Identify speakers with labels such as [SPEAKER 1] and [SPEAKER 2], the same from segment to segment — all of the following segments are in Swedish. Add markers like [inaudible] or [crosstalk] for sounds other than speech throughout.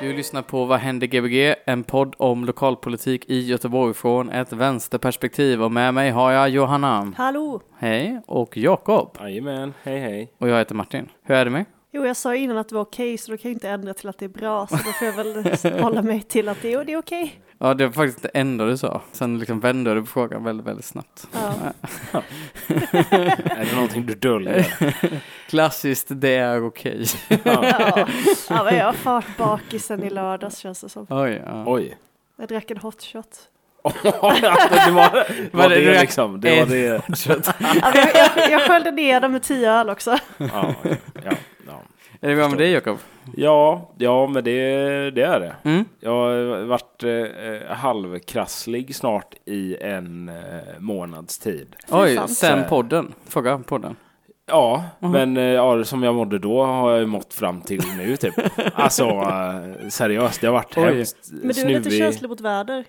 [SPEAKER 1] Du lyssnar på Vad händer Gbg? En podd om lokalpolitik i Göteborg från ett vänsterperspektiv. Och med mig har jag Johanna.
[SPEAKER 2] Hallå!
[SPEAKER 1] Hej. Och Jakob.
[SPEAKER 3] Jajamän, hej hej.
[SPEAKER 1] Och jag heter Martin. Hur är det med?
[SPEAKER 2] Jo, jag sa ju innan att det var okej, så då kan jag inte ändra till att det är bra, så då får jag [laughs] väl hålla mig till att det, jo, det är okej.
[SPEAKER 1] Ja, det var faktiskt det enda du sa. Sen liksom vände du på frågan väldigt, väldigt snabbt.
[SPEAKER 2] Ja.
[SPEAKER 3] Är det någonting du döljer?
[SPEAKER 1] Klassiskt, det är okej. [laughs]
[SPEAKER 2] Ja. ja, men jag har fart bakisen i lördags känns det som.
[SPEAKER 1] Oj, ja.
[SPEAKER 3] Oj. [laughs] Alltså,
[SPEAKER 2] Jag drack en hot shot.
[SPEAKER 3] det var,
[SPEAKER 1] [laughs] Var
[SPEAKER 3] var
[SPEAKER 1] det
[SPEAKER 3] det,
[SPEAKER 1] direkt
[SPEAKER 3] liksom. Det var det.
[SPEAKER 2] Ja, men jag, jag, jag sköljde ner den med tio öl också.
[SPEAKER 3] Ja, ja, ja.
[SPEAKER 1] Är det bra med dig Jakob?
[SPEAKER 3] ja, ja men det, det är det.
[SPEAKER 1] Mm.
[SPEAKER 3] Jag har varit eh, halvkrasslig snart i en eh, månads tid.
[SPEAKER 1] Oj,
[SPEAKER 2] fan.
[SPEAKER 1] sen podden. Fråga podden.
[SPEAKER 3] Ja,
[SPEAKER 1] Mhm.
[SPEAKER 3] men eh, ja, som jag mådde då har jag ju mått fram till nu typ. Alltså eh, seriöst, det har varit
[SPEAKER 1] Oj.
[SPEAKER 3] hemskt
[SPEAKER 2] Men du är lite
[SPEAKER 3] snuvig.
[SPEAKER 2] känslig mot väder.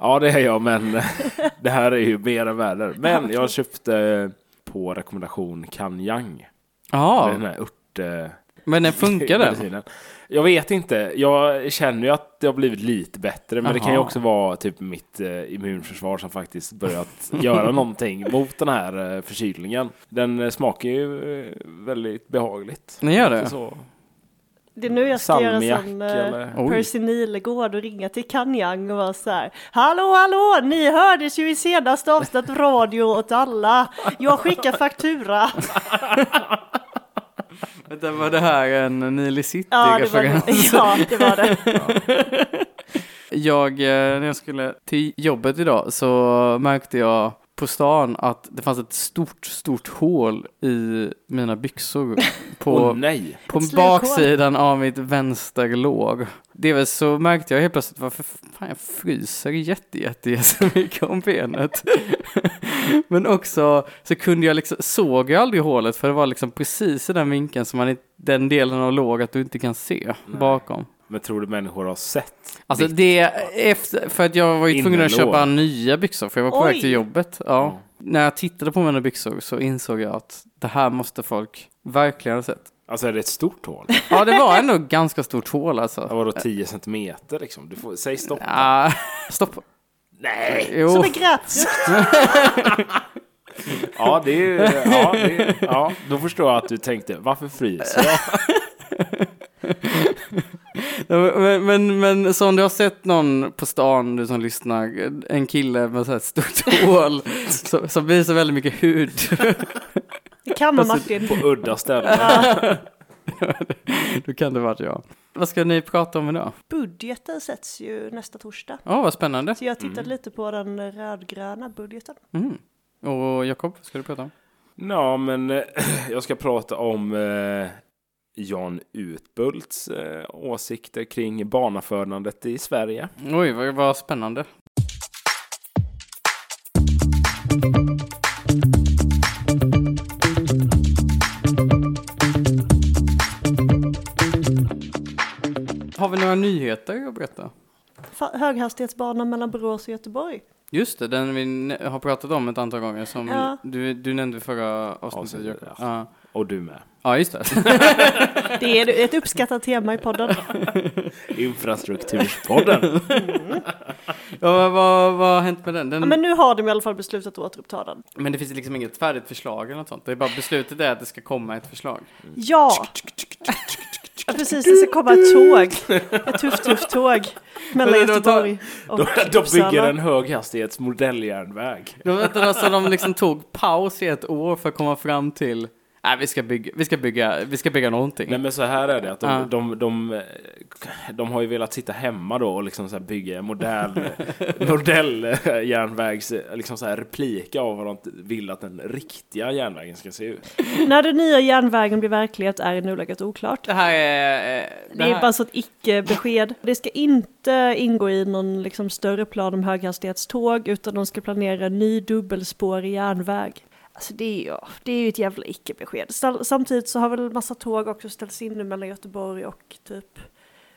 [SPEAKER 3] Ja, det är jag, men [laughs] det här är ju mer än väder. Men jag köpte på rekommendation Kanyang.
[SPEAKER 1] Ja,
[SPEAKER 3] Den här ört... eh,
[SPEAKER 1] men den funkar den?
[SPEAKER 3] medicinen. Jag vet inte. Jag känner ju att det har blivit lite bättre, men det kan ju
[SPEAKER 1] Jaha.
[SPEAKER 3] också vara typ mitt eh, immunförsvar som faktiskt börjat [laughs] göra någonting mot den här eh, förkylningen. Den eh, smakar ju eh, väldigt behagligt.
[SPEAKER 1] Den gör det?
[SPEAKER 3] Så,
[SPEAKER 2] Det är nu jag ska göra
[SPEAKER 3] Salmiak
[SPEAKER 2] som
[SPEAKER 3] eller-
[SPEAKER 2] eh,
[SPEAKER 1] Oj.
[SPEAKER 2] Percy Nilegård och ringa till Kanyang och vara så här. Hallå, hallå, ni hördes ju i senaste avsnittet radio åt alla. Jag skickar faktura.
[SPEAKER 1] Vänta, var det här en Nile
[SPEAKER 2] Ja, det var det.
[SPEAKER 1] City-referens?
[SPEAKER 2] Ja, det var det.
[SPEAKER 1] Jag, eh, när jag skulle till jobbet idag så märkte jag på stan att det fanns ett stort, stort hål i mina
[SPEAKER 2] [laughs]
[SPEAKER 1] byxor
[SPEAKER 3] Åh
[SPEAKER 1] på,
[SPEAKER 3] nej!
[SPEAKER 1] på
[SPEAKER 2] Ett slukhål.
[SPEAKER 1] baksidan av mitt vänsterlåg. Delvis så märkte jag helt plötsligt varför fan jag fryser jätte, jätte, jättemycket om benet. [laughs] Men också så kunde jag liksom, såg jag aldrig hålet för det var liksom precis i den vinkeln som man i den delen av låget du inte kan se bakom.
[SPEAKER 3] Men tror du människor har sett?
[SPEAKER 1] Alltså det, efter, för att jag var ju tvungen att
[SPEAKER 3] Innelår.
[SPEAKER 1] köpa nya byxor för jag var på väg
[SPEAKER 2] Oj.
[SPEAKER 1] till jobbet. Ja. När jag tittade på mina byxor så insåg jag att det här måste folk verkligen ha sett.
[SPEAKER 3] Alltså är det ett stort hål?
[SPEAKER 1] Ja, det var ändå [laughs] ett ganska stort hål
[SPEAKER 3] Ja,
[SPEAKER 1] alltså.
[SPEAKER 3] Vadå 10 centimeter liksom? Du får, säg stopp.
[SPEAKER 1] Ah, [laughs] stopp.
[SPEAKER 3] Nej!
[SPEAKER 1] Jo, [laughs]
[SPEAKER 2] Som en grapefrukt.
[SPEAKER 3] Ja, det är ju... Ja, det är, ja, då förstår jag att du tänkte, varför fryser jag?
[SPEAKER 1] men, men, men så om du har sett någon på stan, du som lyssnar, en kille med så här ett stort [laughs] hål som, som visar väldigt mycket hud.
[SPEAKER 2] Det kan man
[SPEAKER 1] Alltså,
[SPEAKER 2] Martin.
[SPEAKER 3] På udda ställen.
[SPEAKER 1] [laughs] Då kan det vara jag. Vad ska ni prata om idag?
[SPEAKER 2] Budgeten sätts ju nästa torsdag.
[SPEAKER 1] Ja, vad spännande.
[SPEAKER 2] Så jag tittade lite på den rödgröna budgeten.
[SPEAKER 1] Mm. Och Jakob, vad ska du prata om?
[SPEAKER 3] Ja, men eh, jag ska prata om eh, Jan Utbults eh, åsikter kring barnafödandet i Sverige.
[SPEAKER 1] Oj, vad, vad spännande. Har vi några nyheter att berätta?
[SPEAKER 2] Fa- höghastighetsbanan mellan Borås
[SPEAKER 1] [laughs]
[SPEAKER 2] och Göteborg.
[SPEAKER 1] Just det, den vi n- har pratat om ett antal gånger som
[SPEAKER 2] Ja.
[SPEAKER 1] du, du nämnde förra avsnittet.
[SPEAKER 3] Avsnittet,
[SPEAKER 1] Jakob.
[SPEAKER 3] ja.
[SPEAKER 1] Ja.
[SPEAKER 3] Och du med.
[SPEAKER 1] ja, just det.
[SPEAKER 2] Det är ett uppskattat tema i podden.
[SPEAKER 3] Infrastrukturspodden.
[SPEAKER 1] ja, vad, vad, vad har hänt med den? den
[SPEAKER 2] Ja, men nu har de i alla fall beslutat att återuppta den.
[SPEAKER 1] Men det finns liksom inget färdigt förslag eller något sånt. Det är bara beslutet är att det ska komma ett förslag.
[SPEAKER 2] Ja! Ja, precis, det ska komma ett tåg. Ett tufft, tufft tåg. Mellan
[SPEAKER 1] Men då tar-
[SPEAKER 2] Göteborg och
[SPEAKER 3] De, de bygger
[SPEAKER 2] Uppsala.
[SPEAKER 3] en höghastighetsmodelljärnväg.
[SPEAKER 1] De, vänta, alltså, de liksom tog paus i ett år för att komma fram till, Nej, vi ska bygga, vi ska bygga, vi ska bygga någonting.
[SPEAKER 3] Nej men så här är det att de,
[SPEAKER 1] Ja.
[SPEAKER 3] de, de, eh, de har ju velat sitta hemma då och liksom så här bygga
[SPEAKER 1] [laughs]
[SPEAKER 3] en modern modelljärnvägs liksom så här replika av vad de vill att den riktiga järnvägen ska se ut.
[SPEAKER 2] När den nya järnvägen blir verklighet är i nuläget oklart.
[SPEAKER 1] Det här är... eh,
[SPEAKER 2] Det
[SPEAKER 1] här-
[SPEAKER 2] är bara så ett icke-besked. Det ska inte ingå i någon liksom större plan om höghastighetståg utan de ska planera en ny dubbelspårig järnväg. Alltså det är ju, det är ju ett jävla icke-besked. Sal- Samtidigt så har väl en massa tåg också ställts in nu mellan Göteborg och typ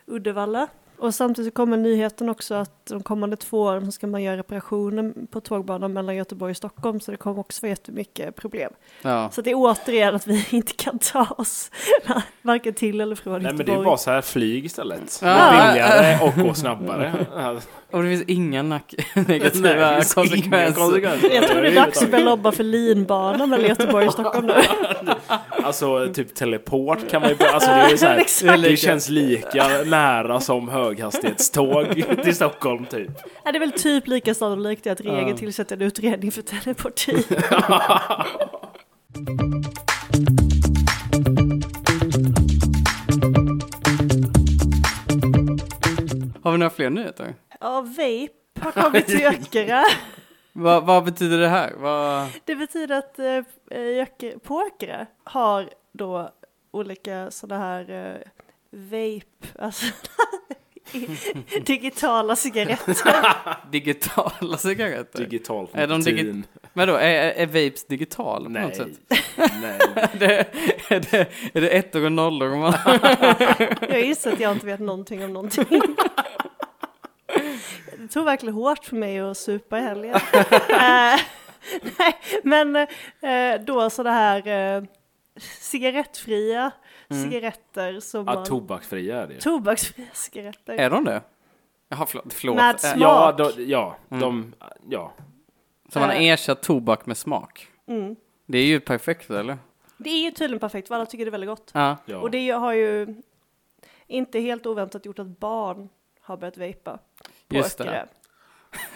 [SPEAKER 2] Uddevalla. Och samtidigt så kommer nyheten också att de kommande två åren så ska man göra reparationer på tågbanan mellan Göteborg och Stockholm så det kommer också vara jättemycket problem.
[SPEAKER 1] Ja.
[SPEAKER 2] Så det är återigen att vi [laughs] inte kan ta oss [laughs] varken till eller från
[SPEAKER 3] Nej men det
[SPEAKER 2] Göteborg.
[SPEAKER 3] är bara så här flyg istället. Det
[SPEAKER 1] Ja.
[SPEAKER 3] är Billigare och
[SPEAKER 1] [laughs]
[SPEAKER 3] gå snabbare.
[SPEAKER 1] Och det finns inga nack- [laughs]
[SPEAKER 3] Nej,
[SPEAKER 1] negativa
[SPEAKER 3] det finns inga
[SPEAKER 1] konsekvenser.
[SPEAKER 3] konsekvenser.
[SPEAKER 2] Jag tror det är dags att börja lobba för linbana mellan Göteborg och Stockholm [laughs] nu.
[SPEAKER 3] Alltså typ teleport kan man ju alltså, det, är så
[SPEAKER 2] [laughs]
[SPEAKER 3] här,
[SPEAKER 2] Exakt.
[SPEAKER 3] det känns lika nära som höghastighetståg [laughs] till Stockholm typ.
[SPEAKER 2] Ja, Det är väl typ lika sannolikt att regeringen tillsätter en utredning för [laughs] teleporti.
[SPEAKER 1] Har vi några fler nyheter?
[SPEAKER 2] Ja, vape har kommit till Öckerö.
[SPEAKER 1] Vad, vad betyder det här? Vad...
[SPEAKER 2] Det betyder att eh, eh, Öckerö- på Öckerö har då olika sådana här eh, vape, alltså [laughs] digitala cigaretter.
[SPEAKER 1] Digitala cigaretter?
[SPEAKER 3] Digitalt
[SPEAKER 1] Är de
[SPEAKER 3] nikotin.
[SPEAKER 1] digi- Vadå, är, är, är vapes digital på något
[SPEAKER 3] Nej.
[SPEAKER 1] sätt? [laughs]
[SPEAKER 2] [laughs]
[SPEAKER 3] Nej.
[SPEAKER 1] Är det, är det, är det ettor och nollor? och Man...
[SPEAKER 2] Jag gissar att jag inte vet någonting om någonting. Det tog verkligen hårt för mig att supa i [laughs] helgen. Eh, nej, men eh, då så det här eh, cigarettfria cigaretter som
[SPEAKER 3] Ja,
[SPEAKER 2] man...
[SPEAKER 3] tobaksfria är det ju.
[SPEAKER 2] tobaksfria cigaretter.
[SPEAKER 1] Är de det? Jaha, förlåt. förlåt.
[SPEAKER 2] Med
[SPEAKER 1] Eh,
[SPEAKER 2] smak.
[SPEAKER 3] Ja, då, ja, de, ja.
[SPEAKER 1] Så man har
[SPEAKER 2] eh.
[SPEAKER 1] ersatt tobak med smak?
[SPEAKER 2] Mm.
[SPEAKER 1] Det är ju perfekt, eller?
[SPEAKER 2] Det är ju tydligen perfekt, för alla tycker det är väldigt gott.
[SPEAKER 1] Ja. [laughs]
[SPEAKER 3] ja.
[SPEAKER 2] Och det har ju inte helt oväntat gjort att barn har börjat vejpa på
[SPEAKER 1] Just det.
[SPEAKER 2] Öckerö.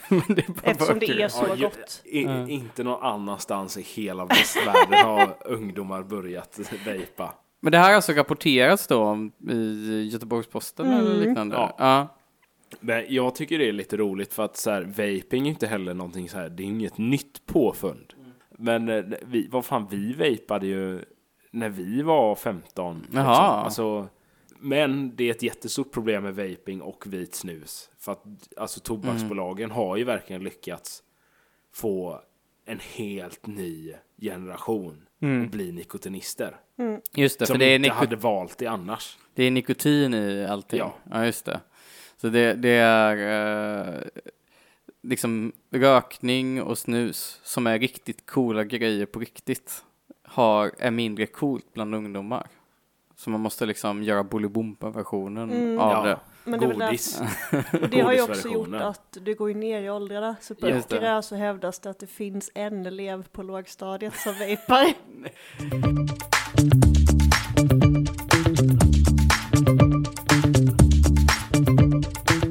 [SPEAKER 1] Men det är bara
[SPEAKER 2] Eftersom det är
[SPEAKER 1] burkar.
[SPEAKER 2] så
[SPEAKER 3] Ja, ju-
[SPEAKER 2] gott.
[SPEAKER 3] I, Inte någon annanstans i hela västvärlden har ungdomar börjat vejpa.
[SPEAKER 1] Men det här har alltså rapporterats då om i Göteborgs-Posten eller
[SPEAKER 2] Mm.
[SPEAKER 1] liknande?
[SPEAKER 3] Ja.
[SPEAKER 1] ja.
[SPEAKER 3] Men jag tycker det är lite roligt för att så här, vaping är inte heller någonting så här, det är inget nytt påfund. Men eh, vi, vad fan, vi vejpade ju när vi var 15. liksom.
[SPEAKER 1] Jaha.
[SPEAKER 3] Alltså, men det är ett jättestort problem med vaping och vit snus. För att alltså, tobaksbolagen
[SPEAKER 1] Mm.
[SPEAKER 3] har ju verkligen lyckats få en helt ny generation att bli
[SPEAKER 1] Just
[SPEAKER 3] nikotinister.
[SPEAKER 1] Mm. det,
[SPEAKER 3] Som
[SPEAKER 1] för det är,
[SPEAKER 3] inte
[SPEAKER 1] nikot-
[SPEAKER 3] hade valt det annars.
[SPEAKER 1] det är nikotin i allting. Ja,
[SPEAKER 3] Ja.
[SPEAKER 1] just det. Så det, det är eh, liksom rökning och snus som är riktigt coola grejer på riktigt har, är mindre coolt bland ungdomar. Så man måste liksom göra Bolibompa-versionen av
[SPEAKER 3] Ja.
[SPEAKER 1] det.
[SPEAKER 2] Men det är väl där-
[SPEAKER 3] Godis.
[SPEAKER 2] Och det har ju också gjort
[SPEAKER 3] Godisversionen.
[SPEAKER 2] att det går ju ner i åldrarna. Så på
[SPEAKER 1] Just det.
[SPEAKER 2] Öckerö så hävdas det att det finns en elev på lågstadiet som
[SPEAKER 1] [laughs]
[SPEAKER 2] vejpar.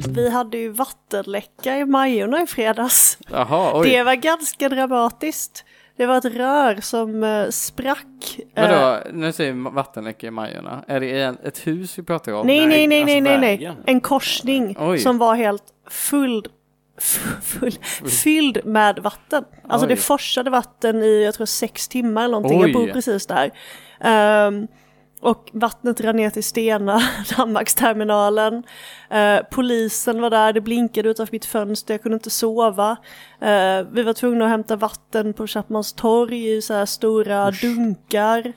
[SPEAKER 2] Vi hade ju vattenläcka i Majorna i fredags.
[SPEAKER 1] Jaha, oj.
[SPEAKER 2] Det var ganska dramatiskt. Det var ett rör som eh, sprack. Eh,
[SPEAKER 1] Vadå, nu säger vi vattenläcka i Majorna. Är det en, ett hus vi pratar om?
[SPEAKER 2] Nej, nej, nej,
[SPEAKER 3] Nej,
[SPEAKER 2] nej,
[SPEAKER 3] alltså
[SPEAKER 2] nej, nej.
[SPEAKER 3] vägen.
[SPEAKER 2] En korsning
[SPEAKER 1] Oj.
[SPEAKER 2] som var helt full, f- full, fylld med vatten. Alltså
[SPEAKER 1] Oj.
[SPEAKER 2] det forsade vatten i, jag tror, sex timmar eller någonting.
[SPEAKER 1] Oj.
[SPEAKER 2] Jag bor precis där. Ehm, och vattnet rann ner till Stena, [laughs] Danmarksterminalen. Eh, polisen var där, det blinkade utanför mitt fönster, jag kunde inte sova. Eh, vi var tvungna att hämta vatten på Chapmans torg i så här stora dunkar.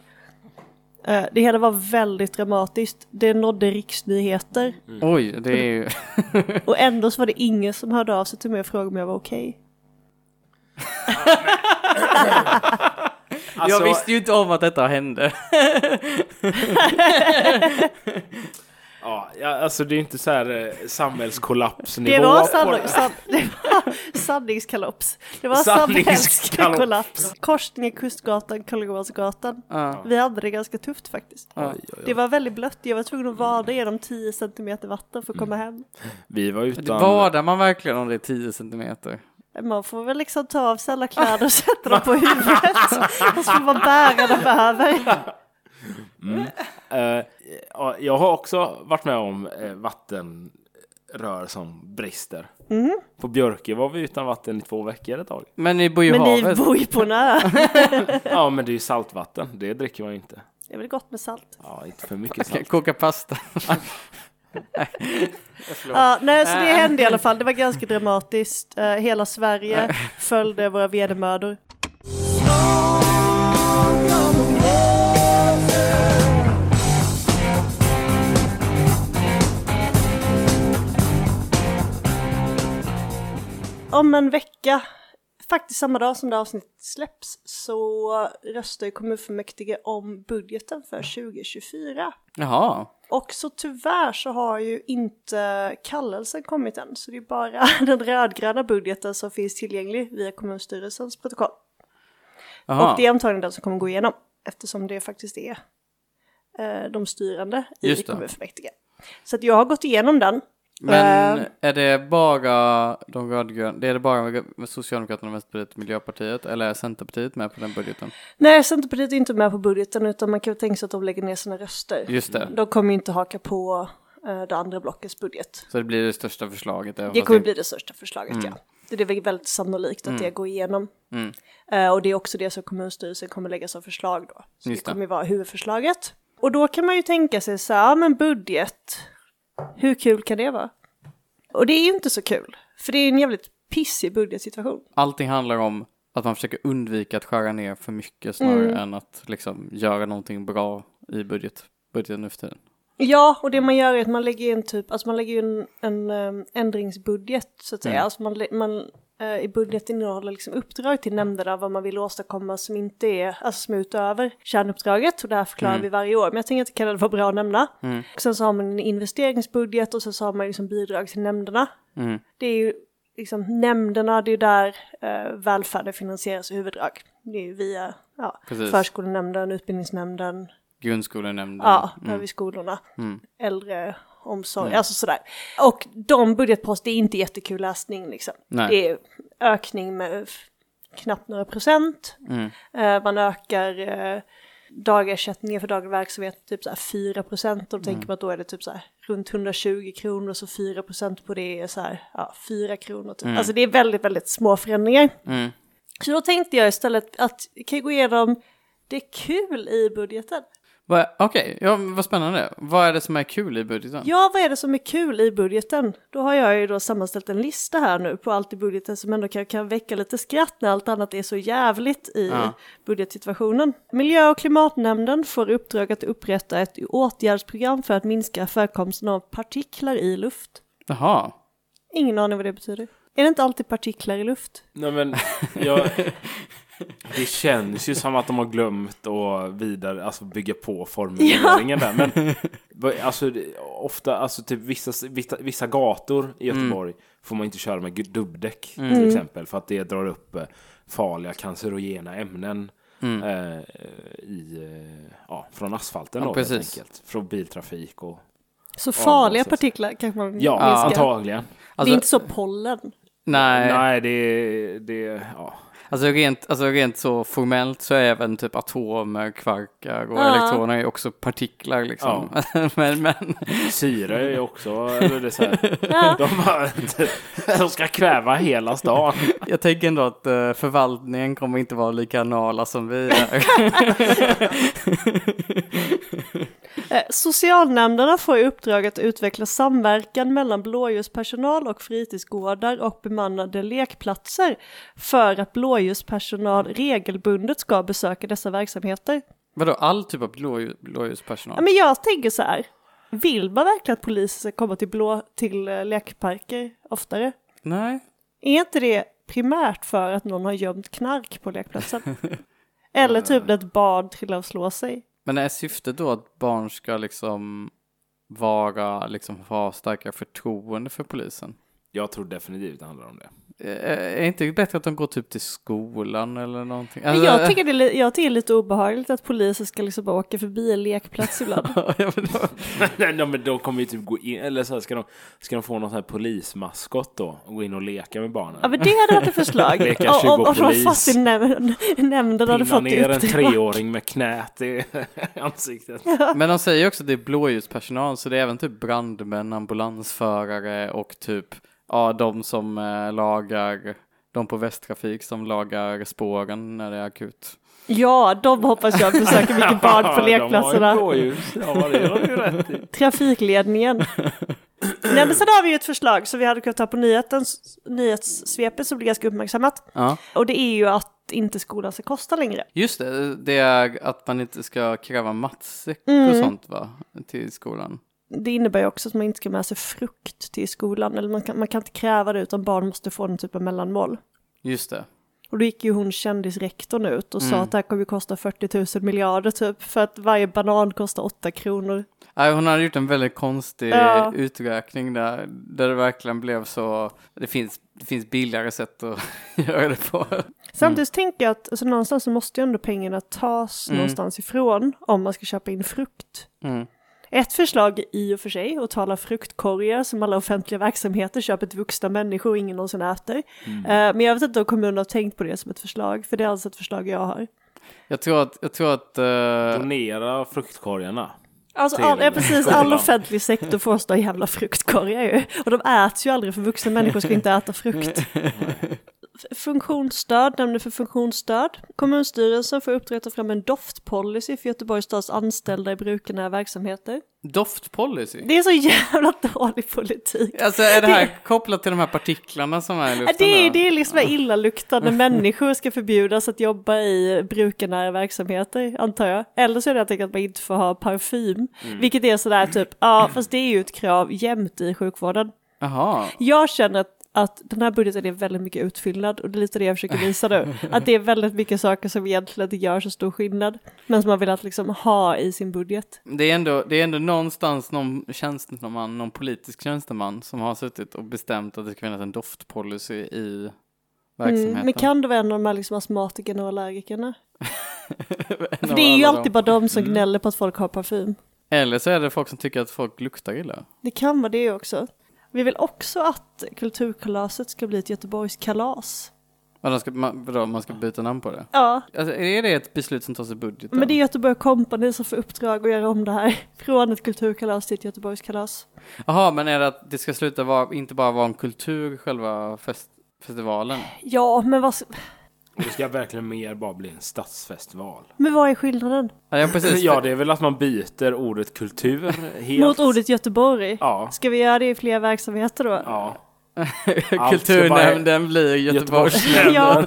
[SPEAKER 2] Eh, det hela var väldigt dramatiskt. Det nådde riksnyheter.
[SPEAKER 1] Oj, det är ju...
[SPEAKER 2] Och ändå så var det ingen som hörde av sig till mig och frågade om jag var okej.
[SPEAKER 3] Alltså-
[SPEAKER 1] [laughs] Jag visste ju inte om att detta [laughs] hände.
[SPEAKER 3] Ja, ja, alltså det är inte så här eh, samhällskollapsnivå.
[SPEAKER 2] Det var,
[SPEAKER 3] på
[SPEAKER 2] sann-
[SPEAKER 3] det.
[SPEAKER 2] sann- [laughs] det var sanningskalops. Det var
[SPEAKER 3] Sanningskalops.
[SPEAKER 2] samhällskollaps. Korsning i Kustgatan, Karljohansgatan.
[SPEAKER 1] Ja.
[SPEAKER 2] Vi hade det ganska tufft faktiskt.
[SPEAKER 1] Ja.
[SPEAKER 2] Det var väldigt blött. Jag var tvungen att vada genom 10
[SPEAKER 1] Mm.
[SPEAKER 2] centimeter vatten för att komma hem.
[SPEAKER 3] Vi var utan...
[SPEAKER 1] Vadar man verkligen om det är 10 centimeter?
[SPEAKER 2] Man får väl liksom ta av sig alla kläder och
[SPEAKER 1] [laughs]
[SPEAKER 2] sätta dem på huvudet. Och så får man bära dem över.
[SPEAKER 3] Eh, ja, jag har också varit med om eh, vattenrör som brister.
[SPEAKER 2] Mhm.
[SPEAKER 3] På Björke var vi utan vatten i två veckor ett tag.
[SPEAKER 1] Men ni bor ju i
[SPEAKER 2] Men ni
[SPEAKER 1] havet.
[SPEAKER 2] bor ju på en ö.
[SPEAKER 3] Ja, men det är ju saltvatten. Det dricker man ju inte.
[SPEAKER 2] Det är väl gott med salt.
[SPEAKER 3] Ja, inte
[SPEAKER 1] [laughs]
[SPEAKER 3] för mycket
[SPEAKER 1] Kan
[SPEAKER 3] salt.
[SPEAKER 1] koka pasta.
[SPEAKER 2] Ja, nej, så det hände i alla fall. Det var ganska dramatiskt. Eh, hela Sverige följde våra vedermödor. Om en vecka, faktiskt samma dag som det här avsnittet släpps, så röstar ju kommunfullmäktige om budgeten för 2024.
[SPEAKER 1] Jaha.
[SPEAKER 2] Och så tyvärr så har ju inte kallelsen kommit än, så det är bara [laughs] den rödgröna budgeten som finns tillgänglig via kommunstyrelsens protokoll.
[SPEAKER 1] Jaha.
[SPEAKER 2] Och det är antagligen den som kommer gå igenom, eftersom det faktiskt är eh, de styrande i
[SPEAKER 1] Just det.
[SPEAKER 2] kommunfullmäktige. Så att jag har gått igenom den.
[SPEAKER 1] Men
[SPEAKER 2] Eh,
[SPEAKER 1] är det bara de rödgröna, det är det bara med Socialdemokraterna, Vänsterpartiet och Miljöpartiet eller är Centerpartiet med på den budgeten?
[SPEAKER 2] nej, Centerpartiet är inte med på budgeten, utan man kan ju tänka sig att de lägger ner sina röster.
[SPEAKER 1] Just det,
[SPEAKER 2] De kommer ju inte haka på eh, det andra blockets budget.
[SPEAKER 1] så det blir det största förslaget. även
[SPEAKER 2] Det
[SPEAKER 1] fast
[SPEAKER 2] kommer
[SPEAKER 1] det-
[SPEAKER 2] bli det största förslaget, ja. Det är väl väldigt sannolikt att det går igenom.
[SPEAKER 1] Mm.
[SPEAKER 2] Eh, och det är också det som kommunstyrelsen kommer lägga som förslag då. Så
[SPEAKER 1] Just
[SPEAKER 2] det
[SPEAKER 1] det.
[SPEAKER 2] kommer ju vara huvudförslaget. Och då kan man ju tänka sig så här, ja, men budget, hur kul kan det vara? Och det är ju inte så kul, för det är en jävligt pissig budgetsituation.
[SPEAKER 1] Allting handlar om att man försöker undvika att skära ner för mycket snarare
[SPEAKER 2] Mm.
[SPEAKER 1] än att liksom göra någonting bra i budget, budgeten nu för tiden.
[SPEAKER 2] Ja, och det man gör är att man lägger in typ, alltså man lägger in en, en eh, ändringsbudget så att säga.
[SPEAKER 1] Mm.
[SPEAKER 2] Alltså man, lä- man eh, i budgeten innehåller liksom uppdrag till nämnderna vad man vill åstadkomma som inte är, alltså som är utöver kärnuppdraget och det här förklarar
[SPEAKER 1] Mm.
[SPEAKER 2] vi varje år. Men jag tänker att det kan vara bra att nämna. Och sen så har man en investeringsbudget och sen så har man liksom bidrag till nämnderna.
[SPEAKER 1] Mm.
[SPEAKER 2] Det är ju liksom nämnderna, det är ju där eh, välfärden finansieras i huvuddrag. Det är ju via ja,
[SPEAKER 1] Precis.
[SPEAKER 2] förskolenämnden, utbildningsnämnden,
[SPEAKER 1] Grundskolenämnden.
[SPEAKER 2] Ja,
[SPEAKER 1] Mm.
[SPEAKER 2] mm. över skolorna.
[SPEAKER 1] Mm.
[SPEAKER 2] Äldreomsorg, alltså sådär. Och de budgetposter, det är inte jättekul läsning liksom.
[SPEAKER 1] Nej.
[SPEAKER 2] Det är ökning med f- knappt några procent.
[SPEAKER 1] Mm.
[SPEAKER 2] Eh, man ökar eh, dagersättningen för daglig verksamhet typ så här 4 procent. Och då
[SPEAKER 1] Mm.
[SPEAKER 2] tänker man att då är det typ så här runt 120 kronor så 4 procent på det är så här ja, 4 kronor. Typ. Alltså det är väldigt, väldigt små förändringar.
[SPEAKER 1] Mm.
[SPEAKER 2] Så då tänkte jag istället att jag kan gå igenom det är kul i budgeten.
[SPEAKER 1] Vad- Okej, ja, men vad spännande. Vad är det som är kul i budgeten?
[SPEAKER 2] Ja, vad är det som är kul i budgeten? Då har jag ju då sammanställt en lista här nu på allt i budgeten som ändå kan, kan väcka lite skratt när allt annat är så jävligt i
[SPEAKER 1] Ja.
[SPEAKER 2] budgetsituationen. Miljö och klimatnämnden får i uppdrag att upprätta ett åtgärdsprogram för att minska förekomsten av partiklar i luft.
[SPEAKER 1] Jaha.
[SPEAKER 2] Ingen aning vad det betyder. Är det inte alltid partiklar i luft?
[SPEAKER 3] Nej, men
[SPEAKER 1] [laughs]
[SPEAKER 3] jag... Det känns ju som att de har glömt att vidare, alltså bygga på formuleringen där.
[SPEAKER 1] [laughs]
[SPEAKER 3] Men vad- alltså, det- ofta, alltså typ vissa, vissa, vissa gator i
[SPEAKER 1] Mm.
[SPEAKER 3] Göteborg får man inte köra med gu- dubbdäck till exempel. För att det drar upp eh, farliga cancerogena ämnen
[SPEAKER 1] Mm.
[SPEAKER 3] eh, i, eh, ja, från asfalten
[SPEAKER 1] Ja,
[SPEAKER 3] då, helt
[SPEAKER 1] precis.
[SPEAKER 3] enkelt. Från biltrafik och...
[SPEAKER 2] Så farliga
[SPEAKER 3] precis.
[SPEAKER 2] partiklar kanske man
[SPEAKER 3] Ja,
[SPEAKER 2] minskar.
[SPEAKER 3] antagligen.
[SPEAKER 2] Det är
[SPEAKER 1] Alltså,
[SPEAKER 2] inte så pollen.
[SPEAKER 1] nej.
[SPEAKER 3] Nej, det... det ja.
[SPEAKER 1] Alltså rent, alltså rent så formellt så är även typ atomer, kvarkar och
[SPEAKER 2] Ja.
[SPEAKER 1] elektroner är också partiklar liksom. [laughs] men, men,
[SPEAKER 3] Syre är ju också, eller det är så här,
[SPEAKER 2] Ja.
[SPEAKER 3] [laughs] de, bara, de ska kväva hela stan.
[SPEAKER 1] jag tänker ändå att eh, förvaltningen kommer inte vara lika anala som vi är.
[SPEAKER 2] Eh, Socialnämnderna får i uppdrag att utveckla samverkan mellan blåljuspersonal och fritidsgårdar och bemannade lekplatser för att blåljuspersonal regelbundet ska besöka dessa verksamheter.
[SPEAKER 1] [laughs] Vadå, all typ av blå,
[SPEAKER 2] Ja,
[SPEAKER 1] blåljuspersonal?
[SPEAKER 2] men jag tänker så här, vill man verkligen att polisen ska komma till, blå, till eh, lekparker oftare?
[SPEAKER 1] Nej.
[SPEAKER 2] Är inte det primärt för att någon har gömt knark på lekplatsen? Eller typ när ett barn trillar och slår sig?
[SPEAKER 1] Men är syftet då att barn ska liksom vara, liksom ha starkare förtroende för polisen?
[SPEAKER 3] Jag tror definitivt det handlar om det.
[SPEAKER 1] Eh, Är inte det bättre att de går typ till skolan eller någonting?
[SPEAKER 2] Men
[SPEAKER 1] Alltså-
[SPEAKER 2] jag tycker det är, li- jag tycker det är lite obehagligt att poliser ska liksom bara åka förbi en lekplats
[SPEAKER 3] [laughs]
[SPEAKER 2] ibland.
[SPEAKER 1] [laughs] Ja, men då-
[SPEAKER 3] [laughs] Nej, nej, men de kommer ju typ gå in, eller så här, ska, de, ska de få någon sån här polismaskott då? Och gå in och leka med barnen?
[SPEAKER 2] Ja men det hade varit ett förslag.
[SPEAKER 3] Leka
[SPEAKER 2] Och- och- och de
[SPEAKER 3] 20-polis.
[SPEAKER 2] fast i nämnden, nämnden hade
[SPEAKER 3] Pinna
[SPEAKER 2] fått
[SPEAKER 3] ner en
[SPEAKER 2] det
[SPEAKER 3] treåring med knät i [laughs] ansiktet.
[SPEAKER 1] Men de säger ju också att det är blåljuspersonal, så det är även typ brandmän, ambulansförare och typ, ja, de som eh, lagar, de på Västtrafik som lagar spåren när det är akut.
[SPEAKER 2] [laughs] Ja, de hoppas jag besöker
[SPEAKER 3] [laughs]
[SPEAKER 2] mycket barn på lekplatserna.
[SPEAKER 3] De har ju blåljus. Ja, det har de
[SPEAKER 2] [laughs]
[SPEAKER 3] ju rätt i. [laughs]
[SPEAKER 2] Trafikledningen. Nej men sen har vi ju ett förslag som vi hade kunnat ta på nyhetens, nyhetssvepet som blir ganska uppmärksammat.
[SPEAKER 1] Ja,
[SPEAKER 2] Och det är ju att inte skolan ska kosta längre.
[SPEAKER 1] just det, det är att man inte ska kräva matsäck och sånt va, till skolan.
[SPEAKER 2] Det innebär ju också att man inte ska med sig frukt till skolan. Eller man kan, man kan inte kräva det utan barn måste få någon typ av mellanmål.
[SPEAKER 1] Just det.
[SPEAKER 2] Och då gick ju hon kändisrektorn ut och sa att det här kommer ju kosta 40 000 miljarder typ. För att varje banan kostar 8 kronor.
[SPEAKER 1] Nej, Äh, hon hade gjort en väldigt konstig
[SPEAKER 2] Ja.
[SPEAKER 1] uträkning där, där det verkligen blev så, det finns, det finns billigare sätt att [laughs] göra det på.
[SPEAKER 2] Samtidigt tänker jag att alltså, någonstans så måste ju ändå pengarna tas någonstans ifrån om man ska köpa in frukt.
[SPEAKER 1] Mm.
[SPEAKER 2] Ett förslag är i och för sig att tala fruktkorgar som alla offentliga verksamheter köper till vuxna människor och ingen någonsin äter.
[SPEAKER 3] Mm.
[SPEAKER 2] Eh, men jag vet inte om kommunen har tänkt på det som ett förslag, för det är alltså ett förslag jag har.
[SPEAKER 1] Jag tror att, jag tror att... eh,
[SPEAKER 3] Donera fruktkorgarna.
[SPEAKER 2] Alltså
[SPEAKER 3] Till
[SPEAKER 2] all, ja, precis, all
[SPEAKER 3] skolan.
[SPEAKER 2] offentlig sektor får sådana jävla fruktkorgar ju. Och de äts ju aldrig för vuxna människor ska inte äta frukt. F- Funktionsstöd, nämnden för funktionsstöd. Kommunstyrelsen får upprätta fram en doftpolicy för Göteborgs stads anställda i brukande verksamheter.
[SPEAKER 1] Doftpolicy?
[SPEAKER 2] Det är så jävla dålig politik.
[SPEAKER 1] Alltså är det här kopplat till de här partiklarna som är i
[SPEAKER 2] Ja,
[SPEAKER 1] luften?
[SPEAKER 2] Det är,
[SPEAKER 1] då?
[SPEAKER 2] det är liksom [laughs] illaluktande människor ska förbjudas att jobba i brukarnära verksamheter, antar jag. Eller så är det jag tänker att man inte får ha parfym, vilket är sådär typ, [clears throat] ja fast det är ju ett krav jämt i sjukvården.
[SPEAKER 1] Jaha.
[SPEAKER 2] Jag känner att, att den här budgeten är väldigt mycket utfyllnad och det är lite det jag försöker visa [laughs] nu. Att det är väldigt mycket saker som egentligen inte gör så stor skillnad, men som man vill att liksom ha i sin budget.
[SPEAKER 1] Det är, ändå, det är ändå någonstans någon tjänsteman, någon politisk tjänsteman som har suttit och bestämt att det ska finnas en doftpolicy i verksamheten.
[SPEAKER 2] Mm,
[SPEAKER 1] [laughs]
[SPEAKER 2] men kan det vara en av de här liksom astmatikerna och allergikerna?
[SPEAKER 1] En
[SPEAKER 2] För
[SPEAKER 1] av
[SPEAKER 2] det är ju
[SPEAKER 1] alla dem.
[SPEAKER 2] alltid bara de som gnäller på att folk har parfym.
[SPEAKER 1] Eller så är det folk som tycker att folk luktar illa.
[SPEAKER 2] Det kan vara det också. Vi vill också att kulturkalaset ska bli ett Göteborgskalas.
[SPEAKER 1] Och de ska, man, vadå, man ska byta namn på det.
[SPEAKER 2] Ja,
[SPEAKER 1] Alltså, är det ett beslut som tas i budgeten?
[SPEAKER 2] men det är Göteborg Company som får uppdrag att göra om det här. Från ett kulturkalas till ett Göteborgskalas.
[SPEAKER 1] Jaha, men är det att det ska sluta vara, inte bara vara en kultur, själva fest, festivalen?
[SPEAKER 2] Ja, men vad,
[SPEAKER 3] Det ska verkligen mer bara bli en stadsfestival.
[SPEAKER 2] men vad är skillnaden?
[SPEAKER 1] Ja, ja, precis.
[SPEAKER 3] [laughs] Ja, det är väl att man byter ordet kultur helt.
[SPEAKER 2] Mot ordet Göteborg?
[SPEAKER 3] Ja.
[SPEAKER 2] Ska vi göra det i fler verksamheter då?
[SPEAKER 3] Ja.
[SPEAKER 1] Kulturnämnden blir Göteborgs...
[SPEAKER 2] [laughs] Ja.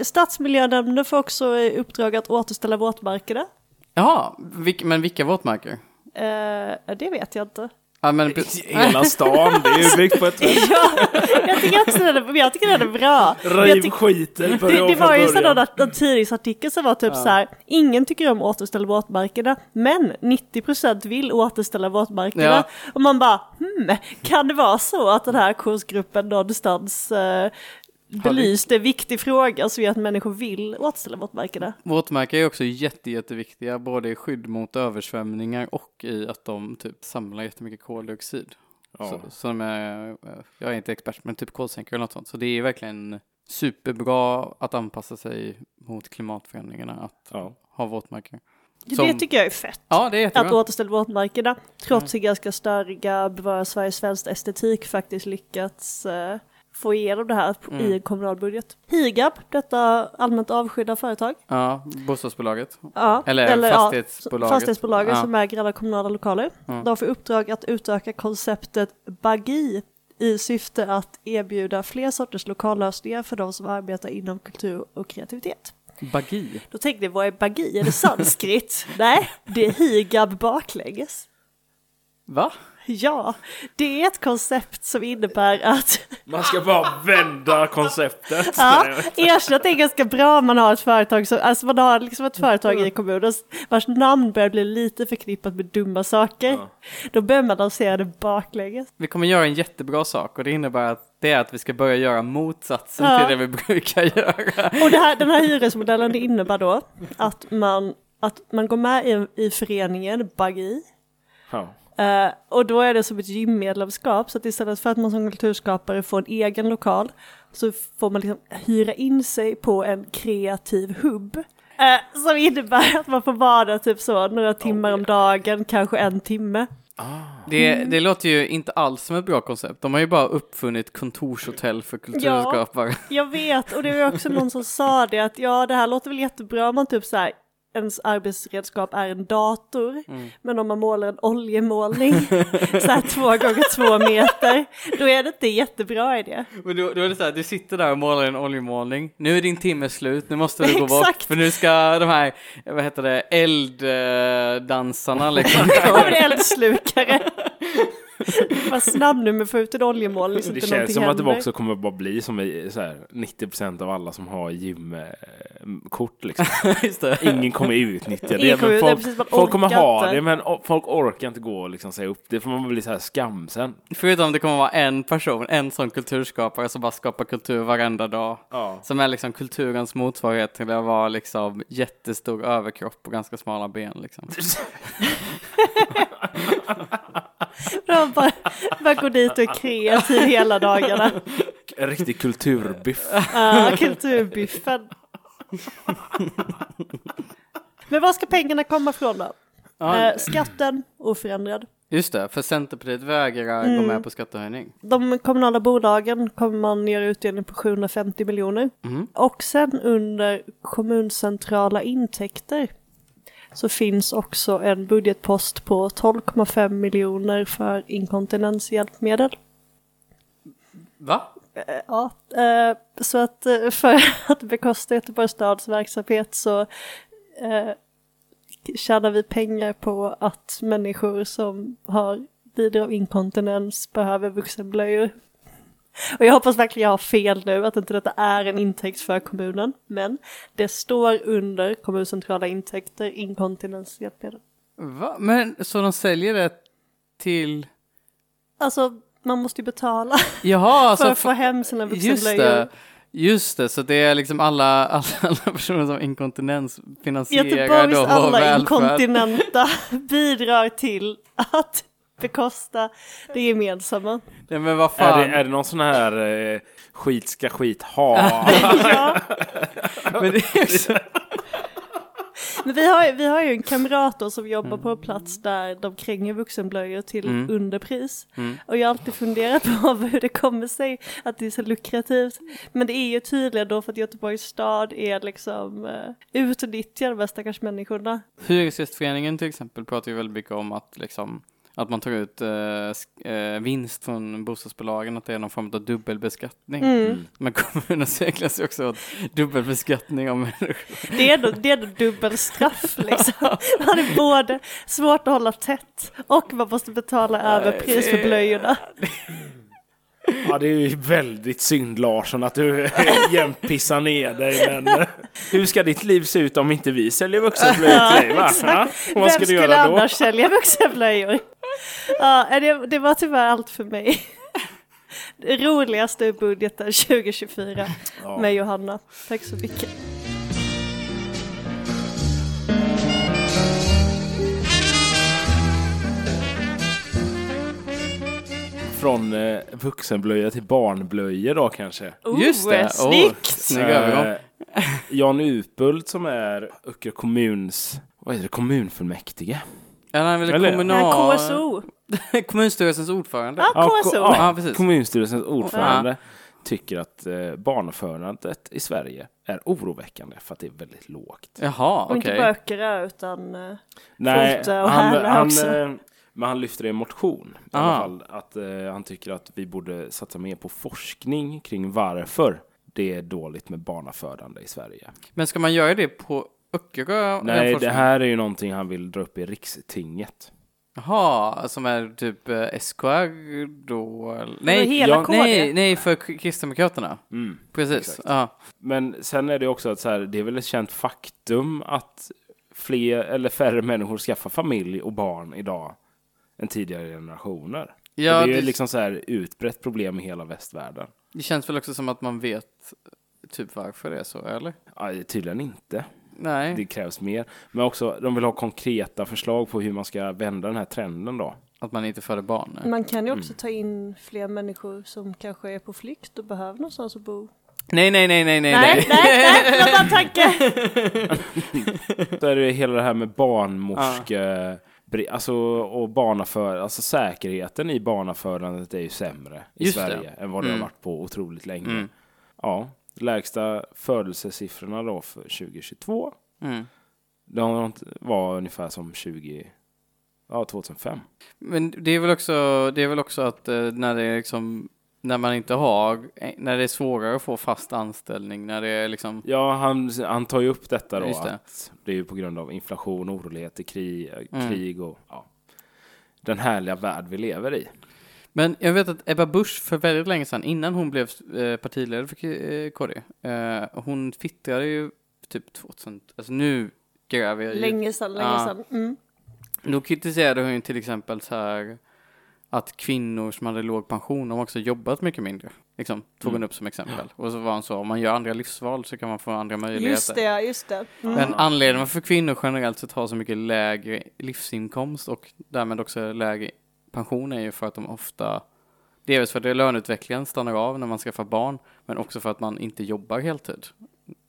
[SPEAKER 2] [laughs] Stadsmiljönämnden får också i uppdrag att återställa våtmarkerna.
[SPEAKER 1] Jaha, vilk, men vilka våtmarker?
[SPEAKER 2] Eh, det vet jag inte.
[SPEAKER 1] Eh, Ja, men,
[SPEAKER 3] Hela stan, det
[SPEAKER 2] Alltså,
[SPEAKER 3] är ju byggt på ett
[SPEAKER 2] Ja, [laughs] jag tycker också den är, jag tycker den är bra. Men jag
[SPEAKER 3] riv
[SPEAKER 2] tycker-
[SPEAKER 3] skiten börja
[SPEAKER 2] Det,
[SPEAKER 3] om
[SPEAKER 2] det
[SPEAKER 3] från
[SPEAKER 2] var ju
[SPEAKER 3] början.
[SPEAKER 2] sådana någon tidningsartikel som var typ så här, ingen tycker om att återställa våtmarkerna, men 90% vill återställa våtmarkerna.
[SPEAKER 1] Ja.
[SPEAKER 2] Och man bara, hmm, kan det vara så att den här kursgruppen någonstans eh, belyste en viktig fråga som gör att människor vill återställa våtmarkerna?
[SPEAKER 1] [laughs] våtmarker är också jätte, jätteviktiga, både i skydd mot översvämningar och i att de typ samlar jättemycket koldioxid.
[SPEAKER 3] Ja.
[SPEAKER 1] Så, så de är, eh, jag är inte expert, men typ kolsänkor eller något sånt. Så det är verkligen superbra att anpassa sig mot klimatförändringarna, att
[SPEAKER 3] Ja.
[SPEAKER 1] ha våtmarker.
[SPEAKER 2] Det
[SPEAKER 1] Som-
[SPEAKER 2] tycker jag är fett.
[SPEAKER 1] Ja, Mm. det är
[SPEAKER 2] Att
[SPEAKER 1] jättebra.
[SPEAKER 2] återställa våtmarkerna, trots sin ganska störiga Bevara Sverige svenskt estetik, faktiskt lyckats eh, få igenom det här på- i
[SPEAKER 1] Mm.
[SPEAKER 2] en kommunal budget. Higab, detta allmänt avskydda företag,
[SPEAKER 1] Ja, bostadsbolaget.
[SPEAKER 2] Ja,
[SPEAKER 1] Eller
[SPEAKER 2] ja,
[SPEAKER 1] fastighetsbolaget.
[SPEAKER 2] fastighetsbolaget
[SPEAKER 1] Ja.
[SPEAKER 2] som äger alla kommunala lokaler. De får i uppdrag att utöka konceptet bagi i syfte att erbjuda fler sorters lokallösningar för de som arbetar inom kultur och kreativitet.
[SPEAKER 1] Bagi.
[SPEAKER 2] Då tänkte jag, vad
[SPEAKER 1] [laughs]
[SPEAKER 2] är bagi? Är det sanskrit? Nej, det är higab baklänges.
[SPEAKER 1] Va?
[SPEAKER 2] Ja, det är ett koncept som innebär att
[SPEAKER 3] Man ska bara vända konceptet.
[SPEAKER 2] ja, erkänn att det är ganska bra om man har ett företag som, alltså man har liksom ett företag i kommunen vars namn börjar bli lite förknippat med dumma saker.
[SPEAKER 3] Ja.
[SPEAKER 2] Då börjar man lansera det baklänges.
[SPEAKER 1] Vi kommer göra en jättebra sak och det innebär att det är att vi ska börja göra motsatsen
[SPEAKER 2] Ja.
[SPEAKER 1] till det vi brukar göra.
[SPEAKER 2] Och det här, den här hyresmodellen det innebär då att man, att man går med i, i föreningen Buggy.
[SPEAKER 3] Ja.
[SPEAKER 2] Eh, och då är det som ett gymmedlemskap, så att istället för att man som kulturskapare får en egen lokal så får man liksom hyra in sig på en kreativ hubb. Eh, som innebär att man får vara typ så några timmar om dagen, kanske en timme.
[SPEAKER 1] Det, det låter ju inte alls som ett bra koncept. De har ju bara uppfunnit kontorshotell för kulturskapare.
[SPEAKER 2] Jag vet, och det var ju också någon som sa det att ja, det här låter väl jättebra om man typ så här ens arbetsredskap är en dator, men om man målar en oljemålning så här två gånger två meter, då är det inte en jättebra idé.
[SPEAKER 1] Men då, då är det så här, du sitter där och målar en oljemålning. Nu är din timme slut, nu måste du gå bort.
[SPEAKER 2] Exakt.
[SPEAKER 1] För nu ska de här, vad heter det, elddansarna
[SPEAKER 2] [laughs]
[SPEAKER 1] liksom.
[SPEAKER 2] Kommer det eldslukare? Var snabb nu med att få ut en oljemålning så
[SPEAKER 3] Det
[SPEAKER 2] inte
[SPEAKER 3] känns
[SPEAKER 2] någonting
[SPEAKER 3] som att det
[SPEAKER 2] händer.
[SPEAKER 3] också kommer bara bli som i, så här, 90% av alla som har
[SPEAKER 2] [laughs]
[SPEAKER 3] gymkort. Liksom.
[SPEAKER 1] Just det.
[SPEAKER 3] Ingen kommer utnyttja det.
[SPEAKER 2] Ingen kommer-
[SPEAKER 3] men
[SPEAKER 2] nej,
[SPEAKER 3] folk,
[SPEAKER 2] precis, man
[SPEAKER 3] folk kommer
[SPEAKER 2] orkar
[SPEAKER 3] ha
[SPEAKER 2] inte.
[SPEAKER 3] det men o- folk orkar inte gå och liksom, säga upp det för man blir så här skamsen.
[SPEAKER 1] Förutom det kommer vara en person, en sån kulturskapare som bara skapar kultur varenda dag.
[SPEAKER 3] Ja.
[SPEAKER 1] Som är liksom kulturens motsvarighet till att vara liksom jättestor överkropp och ganska smala ben liksom.
[SPEAKER 2] De bara, bara går dit och är kreativ hela dagarna.
[SPEAKER 3] En riktig
[SPEAKER 2] [laughs]
[SPEAKER 3] kulturbiff.
[SPEAKER 2] Uh, kulturbiffen. Men var ska pengarna komma ifrån då?
[SPEAKER 1] Ja,
[SPEAKER 2] Eh, skatten oförändrad.
[SPEAKER 1] just det, för Centerpartiet vägrar
[SPEAKER 2] Mm.
[SPEAKER 1] gå med på skattehöjning.
[SPEAKER 2] De kommunala bolagen kommer man göra utdelning på 750 miljoner.
[SPEAKER 1] Mm.
[SPEAKER 2] Och sen under kommuncentrala intäkter så finns också en budgetpost på 12,5 miljoner för inkontinenshjälpmedel.
[SPEAKER 1] Va?
[SPEAKER 2] Eh, Ja, eh, så att eh, för [laughs] att bekosta Göteborgs stads verksamhet så eh, tjänar vi pengar på att människor som har lider av inkontinens behöver vuxenblöjor. Och jag hoppas verkligen jag har fel nu, att inte detta är en intäkt för kommunen. Men det står under kommuncentrala intäkter, inkontinenshjälpmedel.
[SPEAKER 1] Va? Men så de säljer det till...
[SPEAKER 2] Alltså, man måste ju betala
[SPEAKER 1] Jaha,
[SPEAKER 2] för
[SPEAKER 1] alltså...
[SPEAKER 2] att få hem sina
[SPEAKER 1] Just
[SPEAKER 2] vuxenblöjor.
[SPEAKER 1] det. Just det, så det är liksom alla, [laughs] alla, alla personer som inkontinens finansierar
[SPEAKER 2] Göteborgs
[SPEAKER 1] då vår
[SPEAKER 2] typ alla
[SPEAKER 1] välfärd.
[SPEAKER 2] [laughs] inkontinenta bidrar till att bekosta det [laughs] gemensamma.
[SPEAKER 1] Nej, men vad fan.
[SPEAKER 3] Är det, är det någon sån här eh, skit ska
[SPEAKER 2] [laughs]
[SPEAKER 3] skit ha?
[SPEAKER 2] Ja,
[SPEAKER 1] Men det är också-
[SPEAKER 2] men vi har, ju- vi har ju en kamrat då som jobbar på en plats där de kränger vuxenblöjor till underpris. Och jag har alltid funderat på [laughs] hur det kommer sig att det är så lukrativt. Men det är ju tydligen då för att Göteborgs stad är liksom eh, utnyttjar de här stackars människorna.
[SPEAKER 1] Hyresgästföreningen till exempel pratar ju väldigt mycket om att, liksom, att man tar ut eh, sk- eh, vinst från bostadsbolagen, att det är någon form av dubbelbeskattning.
[SPEAKER 2] Mm.
[SPEAKER 1] Men kommunen seglar sig också åt dubbelbeskattning av människor.
[SPEAKER 2] Det är ändå, det är ändå
[SPEAKER 3] [laughs]
[SPEAKER 2] dubbelstraff liksom. Man är både svårt att hålla tätt och man måste betala överpris för blöjorna.
[SPEAKER 3] Ja, det är ju väldigt synd Larsson att du [laughs] jämt pissar ner dig. Men eh, hur ska ditt liv se ut om inte vi säljer vuxenblöjor
[SPEAKER 2] [laughs]
[SPEAKER 3] till dig? Va? Ja, och Vad ska
[SPEAKER 2] Vem
[SPEAKER 3] du
[SPEAKER 2] skulle
[SPEAKER 3] göra då?
[SPEAKER 2] annars sälja vuxenblöjor? Ja, det, det var tyvärr allt för mig. Det roligaste i budgeten 2024 med Johanna. Tack så mycket.
[SPEAKER 3] Från eh, vuxenblöja till barnblöjor då kanske?
[SPEAKER 1] Just det, åh.
[SPEAKER 2] Snyggt!
[SPEAKER 1] Snygg övergång.
[SPEAKER 3] Eh, Jan Utbult som är Öckerö kommuns vad heter det, kommunfullmäktige.
[SPEAKER 1] Ja, nej, men det
[SPEAKER 3] Eller-
[SPEAKER 2] Nej,
[SPEAKER 1] kommunal...
[SPEAKER 2] KSO.
[SPEAKER 1] Kommunstyrelsens ordförande.
[SPEAKER 2] Ja,
[SPEAKER 3] Ja,
[SPEAKER 2] KSO.
[SPEAKER 3] ko-
[SPEAKER 1] Ja, precis.
[SPEAKER 3] Kommunstyrelsens ordförande tycker att eh, barnafödandet i Sverige är oroväckande för att det är väldigt lågt.
[SPEAKER 1] Jaha,
[SPEAKER 2] Och inte
[SPEAKER 1] okej.
[SPEAKER 2] böcker utan... eh, Folte och
[SPEAKER 3] han,
[SPEAKER 2] Härla
[SPEAKER 3] han,
[SPEAKER 2] också.
[SPEAKER 3] eh, men han lyfter det i en motion i
[SPEAKER 1] Ah.
[SPEAKER 3] alla fall, att eh, han tycker att vi borde satsa mer på forskning kring varför det är dåligt med barnafödande i Sverige.
[SPEAKER 1] Men ska man göra det på Öckerö? den
[SPEAKER 3] Nej, det
[SPEAKER 1] forskningen?
[SPEAKER 3] här är ju någonting han vill dra upp i rikstinget.
[SPEAKER 1] Jaha, som är typ eh, SKR då? eller- Nej,
[SPEAKER 2] hela
[SPEAKER 1] ja,
[SPEAKER 2] KD.
[SPEAKER 1] nej, nej, för K- Kristdemokraterna.
[SPEAKER 3] Mm.
[SPEAKER 1] Precis.
[SPEAKER 3] Exakt.
[SPEAKER 1] Ja.
[SPEAKER 3] Men sen är det också att så här, det är väl ett känt faktum att fler eller färre människor skaffar familj och barn idag än tidigare generationer.
[SPEAKER 1] Ja,
[SPEAKER 3] och det är
[SPEAKER 1] det-
[SPEAKER 3] ju liksom så här utbrett problem i hela västvärlden.
[SPEAKER 1] Det känns väl också som att man vet typ varför det är så, eller?
[SPEAKER 3] Ja, tydligen inte.
[SPEAKER 1] Nej.
[SPEAKER 3] Det krävs mer. Men också, de vill ha konkreta förslag på hur man ska vända den här trenden då.
[SPEAKER 1] Att man inte föder barn. nej.
[SPEAKER 2] Man
[SPEAKER 3] Mm.
[SPEAKER 2] kan ju också ta in fler människor som kanske är på flykt och behöver någonstans att bo.
[SPEAKER 1] Nej, nej, nej, nej, nej,
[SPEAKER 2] Nej,
[SPEAKER 1] nej.
[SPEAKER 2] nej, nej, det var bara en tanke.
[SPEAKER 3] Så är det ju hela det här med barnmorske... bri- Alltså, och barnaför, alltså säkerheten i barnafödandet är ju sämre i
[SPEAKER 1] Just det.
[SPEAKER 3] Sverige än vad det
[SPEAKER 1] Mm.
[SPEAKER 3] har varit på otroligt länge.
[SPEAKER 1] Mm.
[SPEAKER 3] Ja, lägsta födelsesiffrorna då för 2022.
[SPEAKER 1] Mm.
[SPEAKER 3] De var ungefär som 20, ja 2005.
[SPEAKER 1] Men det är väl också, det är väl också att eh, när det är liksom, när man inte har, eh, när det är svårare att få fast anställning, när det är liksom,
[SPEAKER 3] Ja, han, han tar ju upp detta då.
[SPEAKER 1] Just det.
[SPEAKER 3] Att det är ju på grund av inflation, oroligheter, krig,
[SPEAKER 1] Mm.
[SPEAKER 3] eh, krig och ja, den härliga värld vi lever i.
[SPEAKER 1] Men jag vet att Ebba Busch för väldigt länge sedan, innan hon blev eh, partiledare för K- eh, KD, eh, hon twittrade ju typ 2000, alltså nu gräver jag ju.
[SPEAKER 2] Länge sedan, länge
[SPEAKER 1] Ja.
[SPEAKER 2] sedan. Mm.
[SPEAKER 1] Då kritiserade hon ju till exempel så här att kvinnor som hade låg pension, de har också jobbat mycket mindre. Liksom, tog hon
[SPEAKER 3] Mm.
[SPEAKER 1] upp som exempel. Och så var hon så, om man gör andra livsval så kan man få andra möjligheter.
[SPEAKER 2] Just det, just det. Mm.
[SPEAKER 1] Men anledningen varför kvinnor generellt sett har så mycket lägre livsinkomst och därmed också lägre pension är ju för att de ofta, dels för att löneutvecklingen stannar av när man skaffar barn, men också för att man inte jobbar heltid.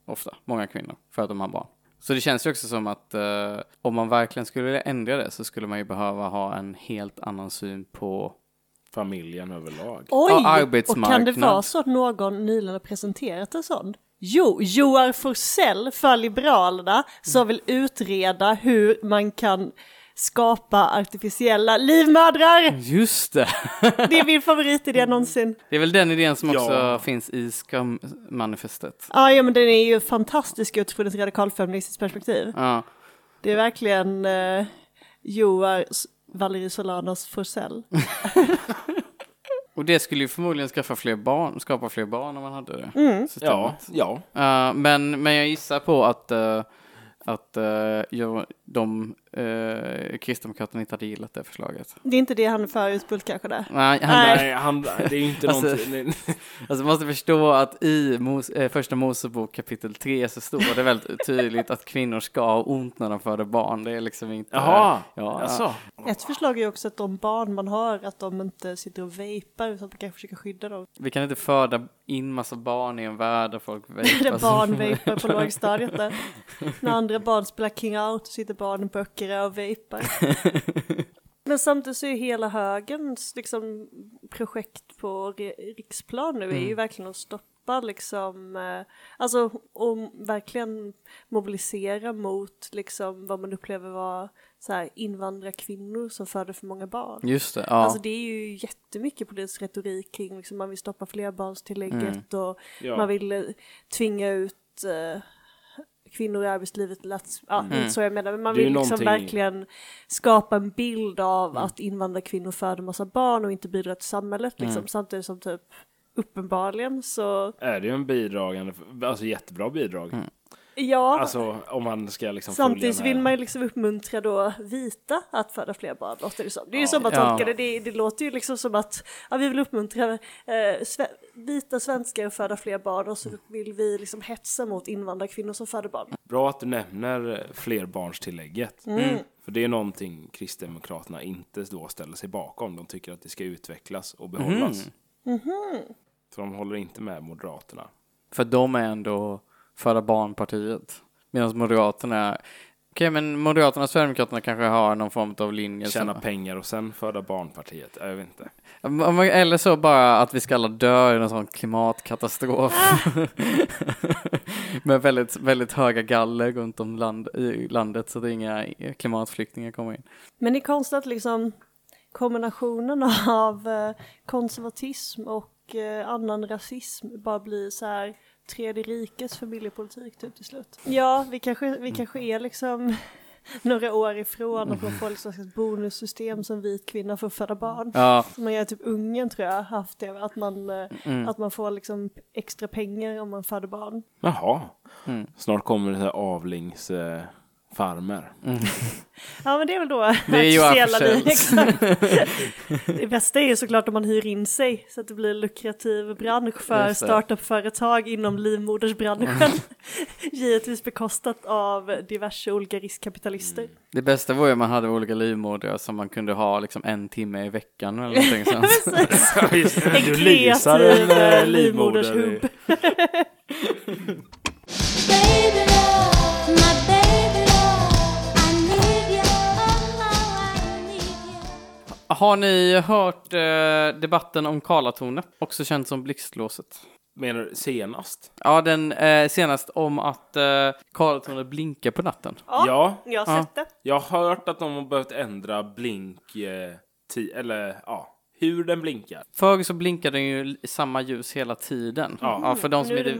[SPEAKER 1] Ofta, många kvinnor, för att de har barn. Så det känns ju också som att eh, om man verkligen skulle vilja ändra det så skulle man ju behöva ha en helt annan syn på
[SPEAKER 3] Familjen överlag.
[SPEAKER 2] Oj,
[SPEAKER 1] Ja,
[SPEAKER 2] och kan det
[SPEAKER 1] arbetsmarknad.
[SPEAKER 2] vara så att någon nyligen har presenterat en sån? Jo, Joar Forsell för Liberalerna som vill utreda hur man kan skapa artificiella
[SPEAKER 1] Mm.
[SPEAKER 2] livmödrar.
[SPEAKER 1] Just det! [laughs]
[SPEAKER 2] Det är min
[SPEAKER 1] Mm.
[SPEAKER 2] favoritidé någonsin.
[SPEAKER 1] Det är väl den idén som också
[SPEAKER 3] Ja.
[SPEAKER 1] finns i Skam-manifestet.
[SPEAKER 2] Ja, ja, men den är ju fantastisk utifrån ett radikalfeministiskt perspektiv.
[SPEAKER 1] Ja.
[SPEAKER 2] Det är verkligen eh, Joar S- Valerie Solanas Forsell.
[SPEAKER 1] Och det skulle ju förmodligen skaffa fler barn, skapa fler barn om man hade det.
[SPEAKER 2] Mm.
[SPEAKER 1] systemet.
[SPEAKER 3] Ja, ja.
[SPEAKER 1] Eh, men, men jag gissar på att, eh, att eh, jag, de uh, Kristdemokraterna inte hade gillat det förslaget.
[SPEAKER 2] Det är inte det han är för utbult kanske där.
[SPEAKER 1] Nej, han,
[SPEAKER 2] Nej.
[SPEAKER 3] Nej, han, det är ju inte
[SPEAKER 1] Alltså-
[SPEAKER 3] någonting.
[SPEAKER 1] Alltså man måste förstå att i Mos, eh, första Mosebok kapitel 3 så står det väldigt tydligt att kvinnor ska ha ont när de föder barn. Det är liksom inte...
[SPEAKER 3] Jaha,
[SPEAKER 1] [laughs] ja,
[SPEAKER 3] alltså.
[SPEAKER 2] Ett förslag är ju också att de barn man har, att de inte sitter och vejpar utan att man kanske försöker skydda dem.
[SPEAKER 1] Vi kan inte föda in massa barn i en värld där folk
[SPEAKER 2] Det är
[SPEAKER 1] vejpar.
[SPEAKER 2] barn vejpar på lågstadiet där. När andra barn spelar King Out och sitter barnen böcker och vejpar. Men samtidigt så är ju hela högens liksom, projekt på re- riksplan nu är ju verkligen att stoppa liksom, eh, alltså och verkligen mobilisera mot liksom vad man upplever vara så här invandrarkvinnor som föder för många barn.
[SPEAKER 1] Just det, ja.
[SPEAKER 2] Alltså det är ju jättemycket politisk retorik kring liksom man vill stoppa flerbarnstillägget och
[SPEAKER 3] Ja.
[SPEAKER 2] man vill eh, tvinga ut eh, kvinnor i arbetslivet. till att- Ja, det är inte så jag menar, men man
[SPEAKER 3] Det är
[SPEAKER 2] vill
[SPEAKER 3] ju
[SPEAKER 2] liksom
[SPEAKER 3] någonting-
[SPEAKER 2] verkligen skapa en bild av att invandrarkvinnor föder massa barn och inte bidrar till samhället liksom, samtidigt som typ uppenbarligen så
[SPEAKER 3] Är det ju en bidragande, alltså jättebra bidrag.
[SPEAKER 1] Mm.
[SPEAKER 2] ja.
[SPEAKER 3] Alltså om man ska liksom
[SPEAKER 2] Samtidigt
[SPEAKER 3] följa
[SPEAKER 2] vill
[SPEAKER 3] den här-
[SPEAKER 2] man ju liksom uppmuntra då vita att föda fler barn, låter det som. Det är ju
[SPEAKER 3] Ja.
[SPEAKER 2] så man
[SPEAKER 1] Ja.
[SPEAKER 2] tolkar det. det. Det låter ju liksom som att ja, vi vill uppmuntra eh, sve- vita svenskar att föda fler barn och så
[SPEAKER 3] Mm.
[SPEAKER 2] vill vi liksom hetsa mot invandrarkvinnor som föder barn.
[SPEAKER 3] Bra att du nämner eh, flerbarnstillägget.
[SPEAKER 2] Mm.
[SPEAKER 3] Mm. För det är någonting Kristdemokraterna inte då ställer sig bakom. De tycker att det ska utvecklas och behållas.
[SPEAKER 1] Mm.
[SPEAKER 2] Mhm.
[SPEAKER 3] Så de håller inte med Moderaterna.
[SPEAKER 1] För de är ändå föda barnpartiet. Medan Moderaterna, okej men Moderaterna och Sverigedemokraterna kanske har någon form av linje.
[SPEAKER 3] Tjäna
[SPEAKER 1] som,
[SPEAKER 3] pengar och sen föda barnpartiet. Jag vet inte.
[SPEAKER 1] Om- eller så bara att vi ska alla dö i någon sån klimatkatastrof. [laughs] Med väldigt, väldigt höga galler runt om land, i landet så att inga klimatflyktingar kommer in.
[SPEAKER 2] Men det är konstigt att liksom kombinationen av eh, konservatism och eh, annan rasism bara blir så här tredje rikets familjepolitik typ till slut. Ja, vi kanske, vi kanske är liksom [laughs] några år ifrån och från folk som har ett bonussystem som vit kvinna får föda barn.
[SPEAKER 1] Ja,
[SPEAKER 2] Som man gör typ ungen tror jag haft det, att man, eh,
[SPEAKER 1] Mm.
[SPEAKER 2] att man får liksom extra pengar om man föder barn.
[SPEAKER 3] Jaha.
[SPEAKER 1] Mm.
[SPEAKER 3] Snart kommer det så här avlingsfarmer.
[SPEAKER 2] Ja men det är väl då
[SPEAKER 1] det är Johan
[SPEAKER 2] artificiella liv,
[SPEAKER 1] Forssells.
[SPEAKER 2] [laughs] exakt. Det bästa är ju såklart om man hyr in sig så att det blir lukrativ bransch för
[SPEAKER 1] Just det. Mm.
[SPEAKER 2] startupföretag inom livmodersbranschen. [laughs] Givetvis bekostat av diverse olika riskkapitalister.
[SPEAKER 1] [laughs] Det bästa vore ju om man hade olika livmodrar som man kunde ha liksom en timme i veckan eller någonting sånt.
[SPEAKER 2] Precis. [laughs] En
[SPEAKER 3] du leasar
[SPEAKER 2] kreativ
[SPEAKER 3] en eh,
[SPEAKER 2] eh,
[SPEAKER 3] livmoder.
[SPEAKER 2] livmodershubb.
[SPEAKER 4] Baby love, my baby love, I need you, oh how I need you.
[SPEAKER 1] Har ni hört eh, debatten om Karlatornet? Också känt som blixtlåset.
[SPEAKER 3] Menar du senast?
[SPEAKER 1] Ja, den eh, senast om att eh, Karlatornet blinkar på natten.
[SPEAKER 2] Ja,
[SPEAKER 3] Ja,
[SPEAKER 2] jag
[SPEAKER 1] Ja.
[SPEAKER 2] har sett det.
[SPEAKER 3] jag har hört att de har behövt ändra blink... Eh, ti- eller ja, hur den blinkar.
[SPEAKER 1] Förr så blinkade den ju l- samma ljus hela tiden. Ja, för de som
[SPEAKER 2] Mm, nu är
[SPEAKER 1] är...
[SPEAKER 2] det
[SPEAKER 1] det-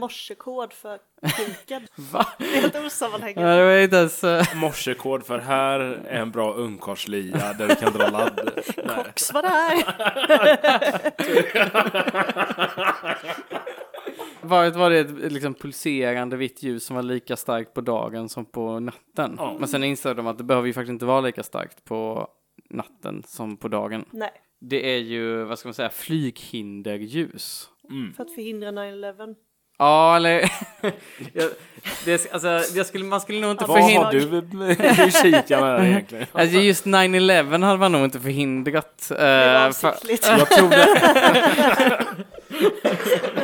[SPEAKER 1] [laughs]
[SPEAKER 2] morsekod för kuken.
[SPEAKER 1] Va?
[SPEAKER 2] Det är
[SPEAKER 1] [laughs]
[SPEAKER 2] helt
[SPEAKER 1] Ja,
[SPEAKER 2] osammanhängande.
[SPEAKER 1] det var inte ens... eh,
[SPEAKER 3] Morsekod för här är en bra ungkarlslya där du kan dra ladd.
[SPEAKER 2] Kox var det här.
[SPEAKER 1] Varit var det ett liksom pulserande vitt ljus som var lika starkt på dagen som på natten.
[SPEAKER 3] Ja.
[SPEAKER 1] Men sen insåg de att det behöver ju faktiskt inte vara lika starkt på natten som på dagen.
[SPEAKER 2] Nej,
[SPEAKER 1] Det är ju, vad ska man säga, flyghinderljus.
[SPEAKER 3] Mm.
[SPEAKER 2] för att förhindra 9-11.
[SPEAKER 1] Ja, eller... [laughs] jag, det, alltså, jag skulle, man skulle nog inte
[SPEAKER 3] Vad
[SPEAKER 1] förhindra...
[SPEAKER 3] har du i kikarna där egentligen?
[SPEAKER 1] Alltså just 9-11 hade man nog inte förhindrat. eh,
[SPEAKER 2] Det var
[SPEAKER 1] för- [laughs]
[SPEAKER 2] avsiktligt.
[SPEAKER 3] Jag tror det.
[SPEAKER 1] Ja,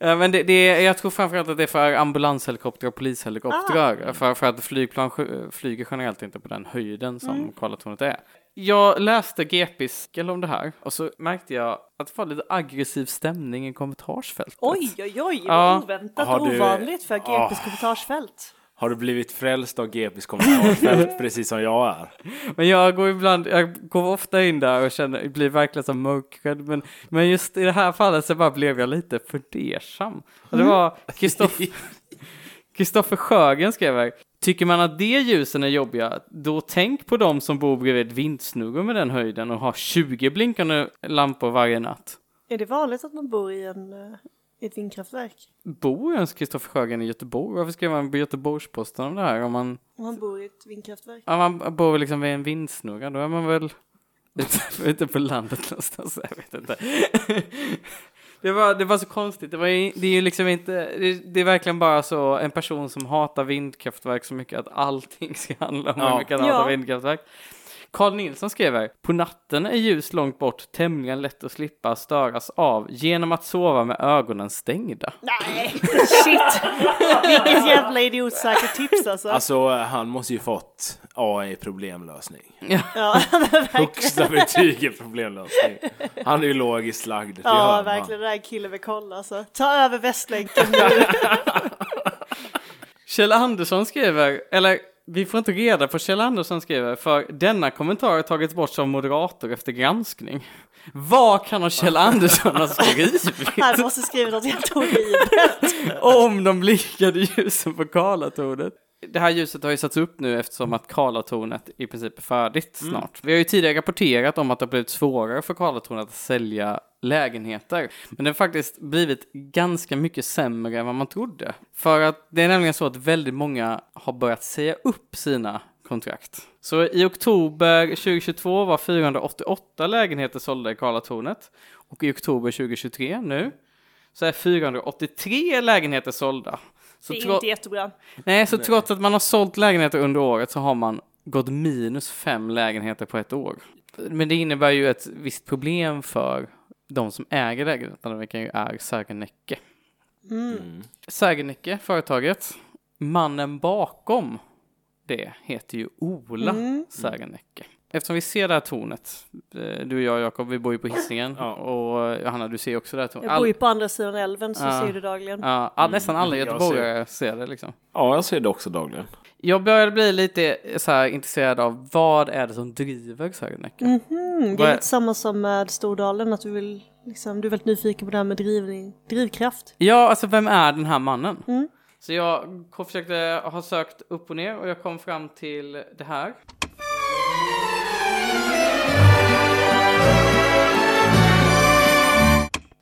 [SPEAKER 1] Eh, men det, det är, jag tror framförallt att det är för ambulanshelikoptrar och
[SPEAKER 2] Ah.
[SPEAKER 1] polishelikoptrar. För, för att flygplan sj- flyger generellt inte på den höjden som
[SPEAKER 2] Mm.
[SPEAKER 1] Karlatornet är. Jag läste GPs artikel om det här och så märkte jag att det var lite aggressiv stämning i kommentarsfältet.
[SPEAKER 2] Oj, oj, oj, vad
[SPEAKER 1] Ja.
[SPEAKER 2] oväntat
[SPEAKER 3] Har
[SPEAKER 2] och
[SPEAKER 3] du-
[SPEAKER 2] ovanligt för GPs kommentarsfält.
[SPEAKER 3] Har du blivit frälst av GPs kommentarsfält precis som jag är?
[SPEAKER 1] Men jag går ibland, jag går ofta in där och känner, blir verkligen som mörkrädd. Men, men just i det här fallet så bara blev jag lite fundersam. Och det var Kristoff- Kristoffer Sjögren skrev här. Tycker man att de ljusen är jobbiga, då tänk på de som bor bredvid vindsnurror med den höjden och har 20 blinkande lampor varje natt.
[SPEAKER 2] Är det vanligt att man bor i en, eh, i ett vindkraftverk?
[SPEAKER 1] Bor ens Kristoffer Sjögren i Göteborg? Varför skrev han på Göteborgs-Posten om det här? Om man,
[SPEAKER 2] Om man bor i ett vindkraftverk?
[SPEAKER 1] om man bor liksom vid en vindsnurra, då är man väl ute, [laughs] ute på landet någonstans. Jag vet inte. [laughs] Det var, det var så konstigt. Det, var ju, det är ju liksom inte, det, det är verkligen bara så en person som hatar vindkraftverk så mycket att allting ska handla om hur
[SPEAKER 3] Ja.
[SPEAKER 1] mycket han hatar
[SPEAKER 2] Ja.
[SPEAKER 1] vindkraftverk. Carl Nilsson skrev här, på natten är ljus långt bort tämligen lätt att slippa störas av genom att sova med ögonen stängda.
[SPEAKER 2] Nej, shit! Vilket jävla idiotsäkert tips alltså.
[SPEAKER 3] Alltså, han måste ju fått A i [laughs] problemlösning.
[SPEAKER 2] ja, [laughs]
[SPEAKER 3] Högsta betyg i problemlösning. Han är ju logiskt lagd. det hör
[SPEAKER 2] ja,
[SPEAKER 3] man.
[SPEAKER 2] verkligen. Det där är en kille med koll alltså. Ta över Västlänken.
[SPEAKER 1] Kjell Andersson skriver, eller vi får inte reda på Kjell Andersson skriver, för denna kommentar har tagits bort som moderator efter granskning. Vad kan ha Kjell Andersson ha
[SPEAKER 2] [laughs]
[SPEAKER 1] skrivit
[SPEAKER 2] Han måste skriva något helt horribelt.
[SPEAKER 1] om de blinkade ljusen på Karlatornet? Det här ljuset har ju satts upp nu eftersom att Karlatornet i princip är färdigt
[SPEAKER 2] Mm.
[SPEAKER 1] snart. Vi har ju tidigare rapporterat om att det har blivit svårare för Karlatornet att sälja lägenheter. Men det har faktiskt blivit ganska mycket sämre än vad man trodde. För att det är nämligen så att väldigt många har börjat säga upp sina kontrakt. Så i oktober 2022 var 488 lägenheter sålda i Karlatornet. Och i oktober 2023 nu så är 483 lägenheter sålda. Så
[SPEAKER 2] Det är
[SPEAKER 1] tro-
[SPEAKER 2] inte jättebra.
[SPEAKER 1] Nej, så trots att man har sålt lägenheter under året så har man gått minus fem lägenheter på ett år. Men det innebär ju ett visst problem för de som äger lägenheterna, vilket ju är Särgenäcke.
[SPEAKER 2] Mm.
[SPEAKER 3] Mm.
[SPEAKER 1] Särgenäcke, företaget, mannen bakom det heter ju Ola
[SPEAKER 2] Mm.
[SPEAKER 1] Särgenäcke. Eftersom vi ser det här tornet, eh, du och jag Jakob, vi bor ju på Hisingen
[SPEAKER 3] Ja.
[SPEAKER 1] och eh, Johanna du ser också det här tornet.
[SPEAKER 2] Jag bor ju på andra sidan älven så
[SPEAKER 1] Ja.
[SPEAKER 2] ser du dagligen.
[SPEAKER 1] ja, all- nästan alla
[SPEAKER 3] jag ser-
[SPEAKER 1] göteborgare ser det liksom.
[SPEAKER 3] Ja, jag ser det också dagligen.
[SPEAKER 1] Jag började bli lite eh, så här intresserad av vad är det som driver Sörnäcke?
[SPEAKER 2] Mm, det
[SPEAKER 1] Vad
[SPEAKER 2] är
[SPEAKER 1] är-
[SPEAKER 2] lite samma som med Stordalen, att du vill liksom, du är väldigt nyfiken på det här med drivning, drivkraft. Mm.
[SPEAKER 1] Ja, alltså vem är den här mannen? Så jag ko- försökte eh, ha sökt upp och ner och jag kom fram till det här.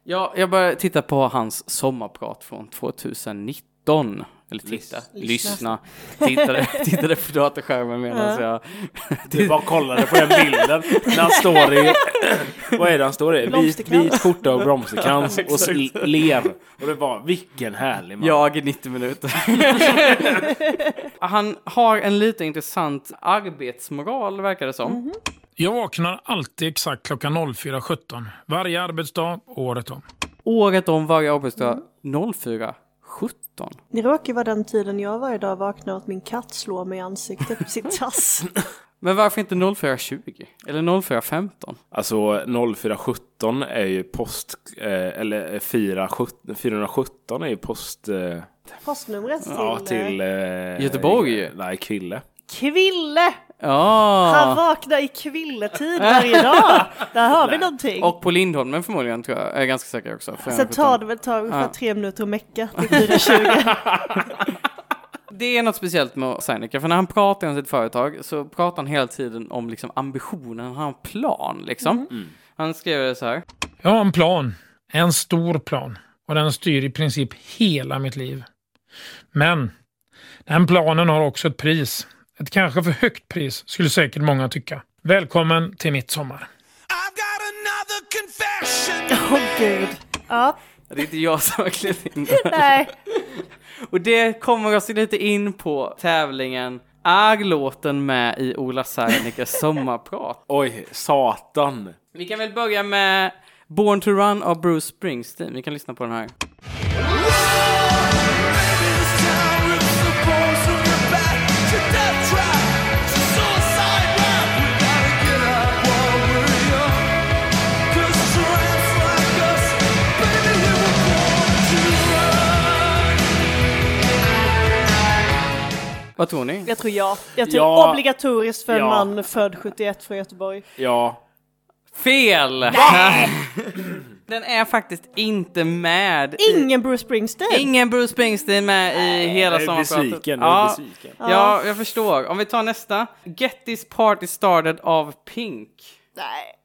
[SPEAKER 1] Ja, jag började titta på hans sommarprat från 2019. Eller titta,
[SPEAKER 3] Lys-
[SPEAKER 1] lyssna. Tittade, tittade på dataskärmen medan jag...
[SPEAKER 3] Du bara kollade på den bilden när han står i... [laughs] Vad är det han står i? Vit,
[SPEAKER 2] Blomsterkrans.
[SPEAKER 3] vit skjorta och [laughs] blomsterkrans och s- ler. Och det var vilken härlig man.
[SPEAKER 1] Jag i 90 minuter. [laughs] Han har en lite intressant arbetsmoral verkar det som.
[SPEAKER 2] Mhm.
[SPEAKER 5] Jag vaknar alltid exakt klockan 04.17. Varje arbetsdag, året om.
[SPEAKER 1] Året om varje arbetsdag
[SPEAKER 2] Mm.
[SPEAKER 1] 04.17.
[SPEAKER 2] Det råkar ju vara den tiden jag varje dag vaknar och att min katt slår mig i ansiktet med sin tass.
[SPEAKER 1] Men varför inte 04.20? Eller 04.15?
[SPEAKER 3] Alltså 0417 är ju post... Eh, eller 417, 417 är ju post... Eh,
[SPEAKER 2] Postnumret till,
[SPEAKER 3] ja, till...
[SPEAKER 2] eh,
[SPEAKER 3] Eh,
[SPEAKER 1] Göteborg.
[SPEAKER 3] Nej, Krille.
[SPEAKER 2] Kville! Han
[SPEAKER 1] Ja!
[SPEAKER 2] vaknar i kvilletid varje dag! Där har vi någonting!
[SPEAKER 1] Och på Lindholmen förmodligen tror jag. Jag är ganska säker också. För
[SPEAKER 2] Sen
[SPEAKER 1] 4.17.
[SPEAKER 2] tar det väl tar ungefär tre minuter att mecka till 4.20.
[SPEAKER 1] Det är något speciellt med Seineke, för när han pratar om sitt företag så pratar han hela tiden om liksom ambitionen, han har en plan liksom.
[SPEAKER 2] Mhm.
[SPEAKER 1] Han skrev det så här.
[SPEAKER 5] Jag har en plan. En stor plan. Och den styr i princip hela mitt liv. Men den planen har också ett pris. Ett kanske för högt pris skulle säkert många tycka. Välkommen till mitt sommar.
[SPEAKER 6] I've got another confession.
[SPEAKER 2] Åh gud! Ja,
[SPEAKER 1] Det är inte jag som har klivit in
[SPEAKER 2] [laughs] nej.
[SPEAKER 1] Och det kommer oss lite in på tävlingen. Är låten med i Ola Sernekes sommarprat?
[SPEAKER 3] Oj, satan.
[SPEAKER 1] Vi kan väl börja med Born to Run av Bruce Springsteen. Vi kan lyssna på den här. Vad tror ni?
[SPEAKER 2] Jag tror ja. Jag tror
[SPEAKER 3] Ja.
[SPEAKER 2] obligatoriskt för en
[SPEAKER 3] Ja.
[SPEAKER 2] man född 71 från Göteborg.
[SPEAKER 3] Ja.
[SPEAKER 1] Fel! [laughs] Den är faktiskt inte med. i-
[SPEAKER 2] Ingen Bruce Springsteen!
[SPEAKER 1] Ingen Bruce Springsteen med i hela
[SPEAKER 3] Jag är
[SPEAKER 1] sommarpratet.
[SPEAKER 3] besviken. Jag är
[SPEAKER 1] Ja,
[SPEAKER 3] besviken.
[SPEAKER 1] ja, jag förstår. Om vi tar nästa. Get this party started av Pink.
[SPEAKER 2] Nej.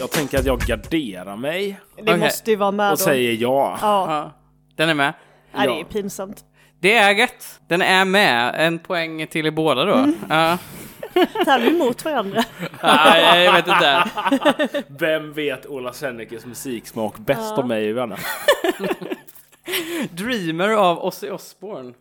[SPEAKER 3] Jag tänker att jag garderar mig
[SPEAKER 2] Det
[SPEAKER 1] Okej.
[SPEAKER 2] måste ju vara med då.
[SPEAKER 3] och säger ja.
[SPEAKER 2] Ja,
[SPEAKER 1] Ja, den är med.
[SPEAKER 2] Nej, det är ju pinsamt.
[SPEAKER 1] Det är rätt. Den är med. En poäng till i båda då. Ja.
[SPEAKER 2] Tävlar vi mot varandra?
[SPEAKER 1] Nej, jag vet inte.
[SPEAKER 3] Vem vet Ola Sennekes musiksmak bäst om mig och Anna?
[SPEAKER 1] [laughs] Dreamer av Ozzy Osbourne.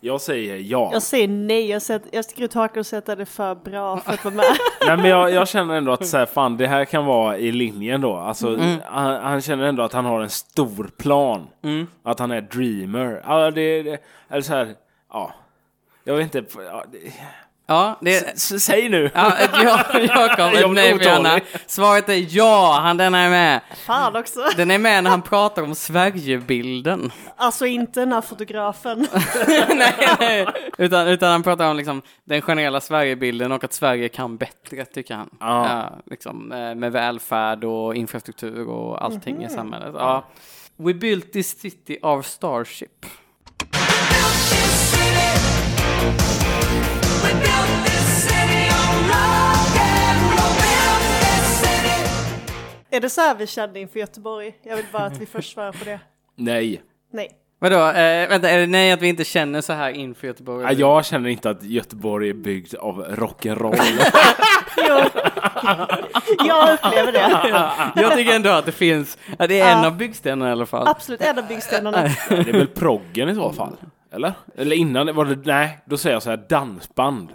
[SPEAKER 3] Jag säger ja.
[SPEAKER 2] Jag säger nej, jag, sätter, jag sticker ut hakan och säger att det är för bra för att vara [laughs] med.
[SPEAKER 3] Nej men jag, jag känner ändå att så här, fan det här kan vara i linjen då. Alltså, han, han känner ändå att han har en stor plan. Att han är dreamer. Ja, det, det, eller så här, ja. Jag vet inte. Ja, det,
[SPEAKER 1] Ja, det...
[SPEAKER 3] s- säg nu!
[SPEAKER 1] [laughs] Ja, ett ja, Jakob, ett
[SPEAKER 3] Jag blir
[SPEAKER 1] nej för Johanna.
[SPEAKER 3] otålig.
[SPEAKER 1] Svaret är ja, han, den är med.
[SPEAKER 2] Fan också!
[SPEAKER 1] Den är med när han pratar om Sverigebilden.
[SPEAKER 2] Alltså inte den här [laughs] fotografen.
[SPEAKER 1] [laughs] Utan, utan han pratar om liksom den generella Sverigebilden och att Sverige kan bättre, tycker han.
[SPEAKER 3] Ja.
[SPEAKER 1] liksom, eh, med välfärd och infrastruktur och allting i samhället. Ja. We built this city of Starship.
[SPEAKER 2] Är det så här vi kände inför Göteborg? Jag vill bara att vi först svarar på det.
[SPEAKER 3] Nej.
[SPEAKER 2] [laughs] Nej.
[SPEAKER 1] Vadå, eh, vänta, är det nej att vi inte känner så här inför Göteborg?
[SPEAKER 3] Ja, Jag känner inte att Göteborg är byggd av
[SPEAKER 1] [laughs]
[SPEAKER 3] rock'n'roll.
[SPEAKER 2] Jo. Jag upplever det.
[SPEAKER 1] Jag tycker ändå att det finns, ja, det är en av byggstenarna i alla fall.
[SPEAKER 2] Absolut, en av byggstenarna.
[SPEAKER 3] Det är väl proggen i så fall? Eller? Eller innan, var det, nej, då säger jag så här
[SPEAKER 1] [laughs]
[SPEAKER 3] dansband.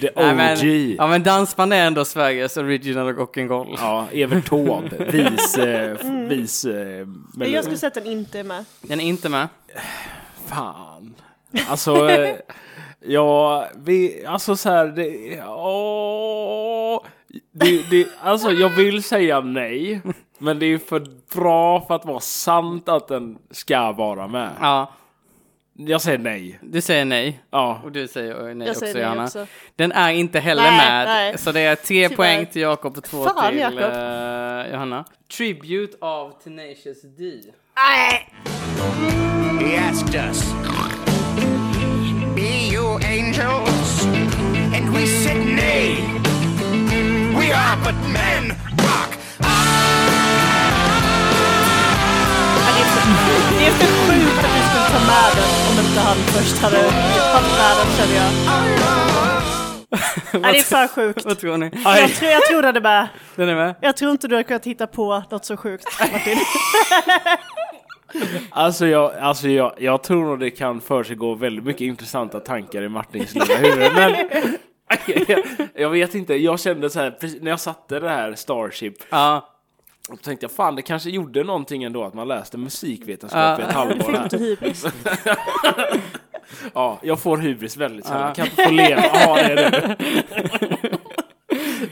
[SPEAKER 3] The OG.
[SPEAKER 1] Nej, men,
[SPEAKER 3] ja.
[SPEAKER 1] ja men dansband är ändå Sveriges original rock'n'roll. [laughs]
[SPEAKER 3] Evert Taube, vis... eh,
[SPEAKER 1] Mm.
[SPEAKER 3] vis eh,
[SPEAKER 2] Men
[SPEAKER 3] men,
[SPEAKER 2] jag skulle säga att den inte är med.
[SPEAKER 1] Den är inte med.
[SPEAKER 3] Fan. Alltså, eh, ja, vi, alltså så här, det, åh, det, det, alltså jag vill säga nej, Men det är ju för bra för att vara sant att den ska vara med.
[SPEAKER 1] Ja,
[SPEAKER 3] Jag säger nej.
[SPEAKER 1] du säger nej.
[SPEAKER 3] Ja.
[SPEAKER 1] Och du säger nej
[SPEAKER 2] Jag
[SPEAKER 1] också,
[SPEAKER 2] säger nej
[SPEAKER 1] Johanna.
[SPEAKER 2] också.
[SPEAKER 1] Den är inte heller
[SPEAKER 2] Nej,
[SPEAKER 1] med.
[SPEAKER 2] nej.
[SPEAKER 1] Så det är tre
[SPEAKER 2] Tyvärr.
[SPEAKER 1] poäng till Jakob och två
[SPEAKER 2] Fan,
[SPEAKER 1] till
[SPEAKER 2] Jakob.
[SPEAKER 1] eh, Johanna. Tribute av Tenacious [laughs] D.
[SPEAKER 6] He asked us, Be you angels? And we said, Nay, we are but men. Rock
[SPEAKER 2] Ja, det, är för, det är för sjukt att vi skulle ta med den om inte han först hade haft med den känner jag. Nej, det är för sjukt.
[SPEAKER 1] Vad tror ni?
[SPEAKER 2] Jag tror, jag tror den är med.
[SPEAKER 1] Den är med?
[SPEAKER 2] Jag tror inte du har kunnat hitta på något så sjukt Martin.
[SPEAKER 3] Alltså, jag, alltså jag, jag tror nog det kan försiggå väldigt mycket intressanta tankar i Martins lilla huvud. Men jag, [laughs] jag vet inte, jag kände så här, precis när jag satte det här Starship,
[SPEAKER 1] Ja.
[SPEAKER 3] och tänkte jag fan det kanske gjorde någonting ändå att man läste musikvetenskap i ett halvår. [laughs] här.
[SPEAKER 2] Inte [laughs] hybris.
[SPEAKER 3] Ja, jag får hybris väldigt sällan. Jag kan inte få leva. Ja, det är det. [laughs]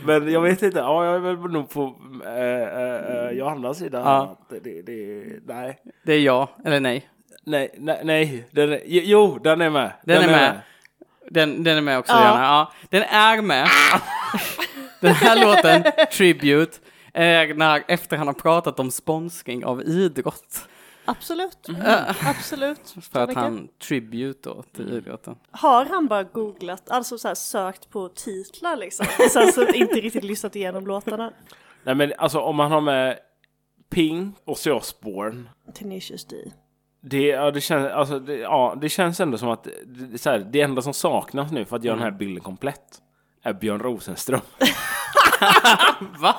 [SPEAKER 3] Men jag vet inte. Ja, jag är väl nog på eh, eh, eh, Johannas sida.
[SPEAKER 1] Ja.
[SPEAKER 3] Det, det, det, nej.
[SPEAKER 1] Det är jag, eller nej.
[SPEAKER 3] Nej, nej, nej. Den är, jo, den är med.
[SPEAKER 1] Den, är, med. Den, den är med också,
[SPEAKER 2] Ja.
[SPEAKER 1] Johanna. Ja. Den är med. [laughs] den här låten, Tribute, är när, efter han har pratat om sponsring av idrott.
[SPEAKER 2] Absolut. Absolut.
[SPEAKER 1] För att
[SPEAKER 2] Vilken? Mm.
[SPEAKER 1] han tribute då till idrotten.
[SPEAKER 2] Har han bara googlat, alltså så här, sökt på titlar liksom? Och sen så inte riktigt lyssnat igenom låtarna.
[SPEAKER 3] Nej, men alltså om man har med Pink och
[SPEAKER 1] Mm.
[SPEAKER 3] Osbourne.
[SPEAKER 2] Tenacious D.
[SPEAKER 3] Det, ja, det, känns, alltså, det, ja, det känns ändå som att det, det- så här, det enda som saknas nu för att göra den
[SPEAKER 1] Mm.
[SPEAKER 3] här bilden komplett är Björn Rosenström. [laughs]
[SPEAKER 1] Va?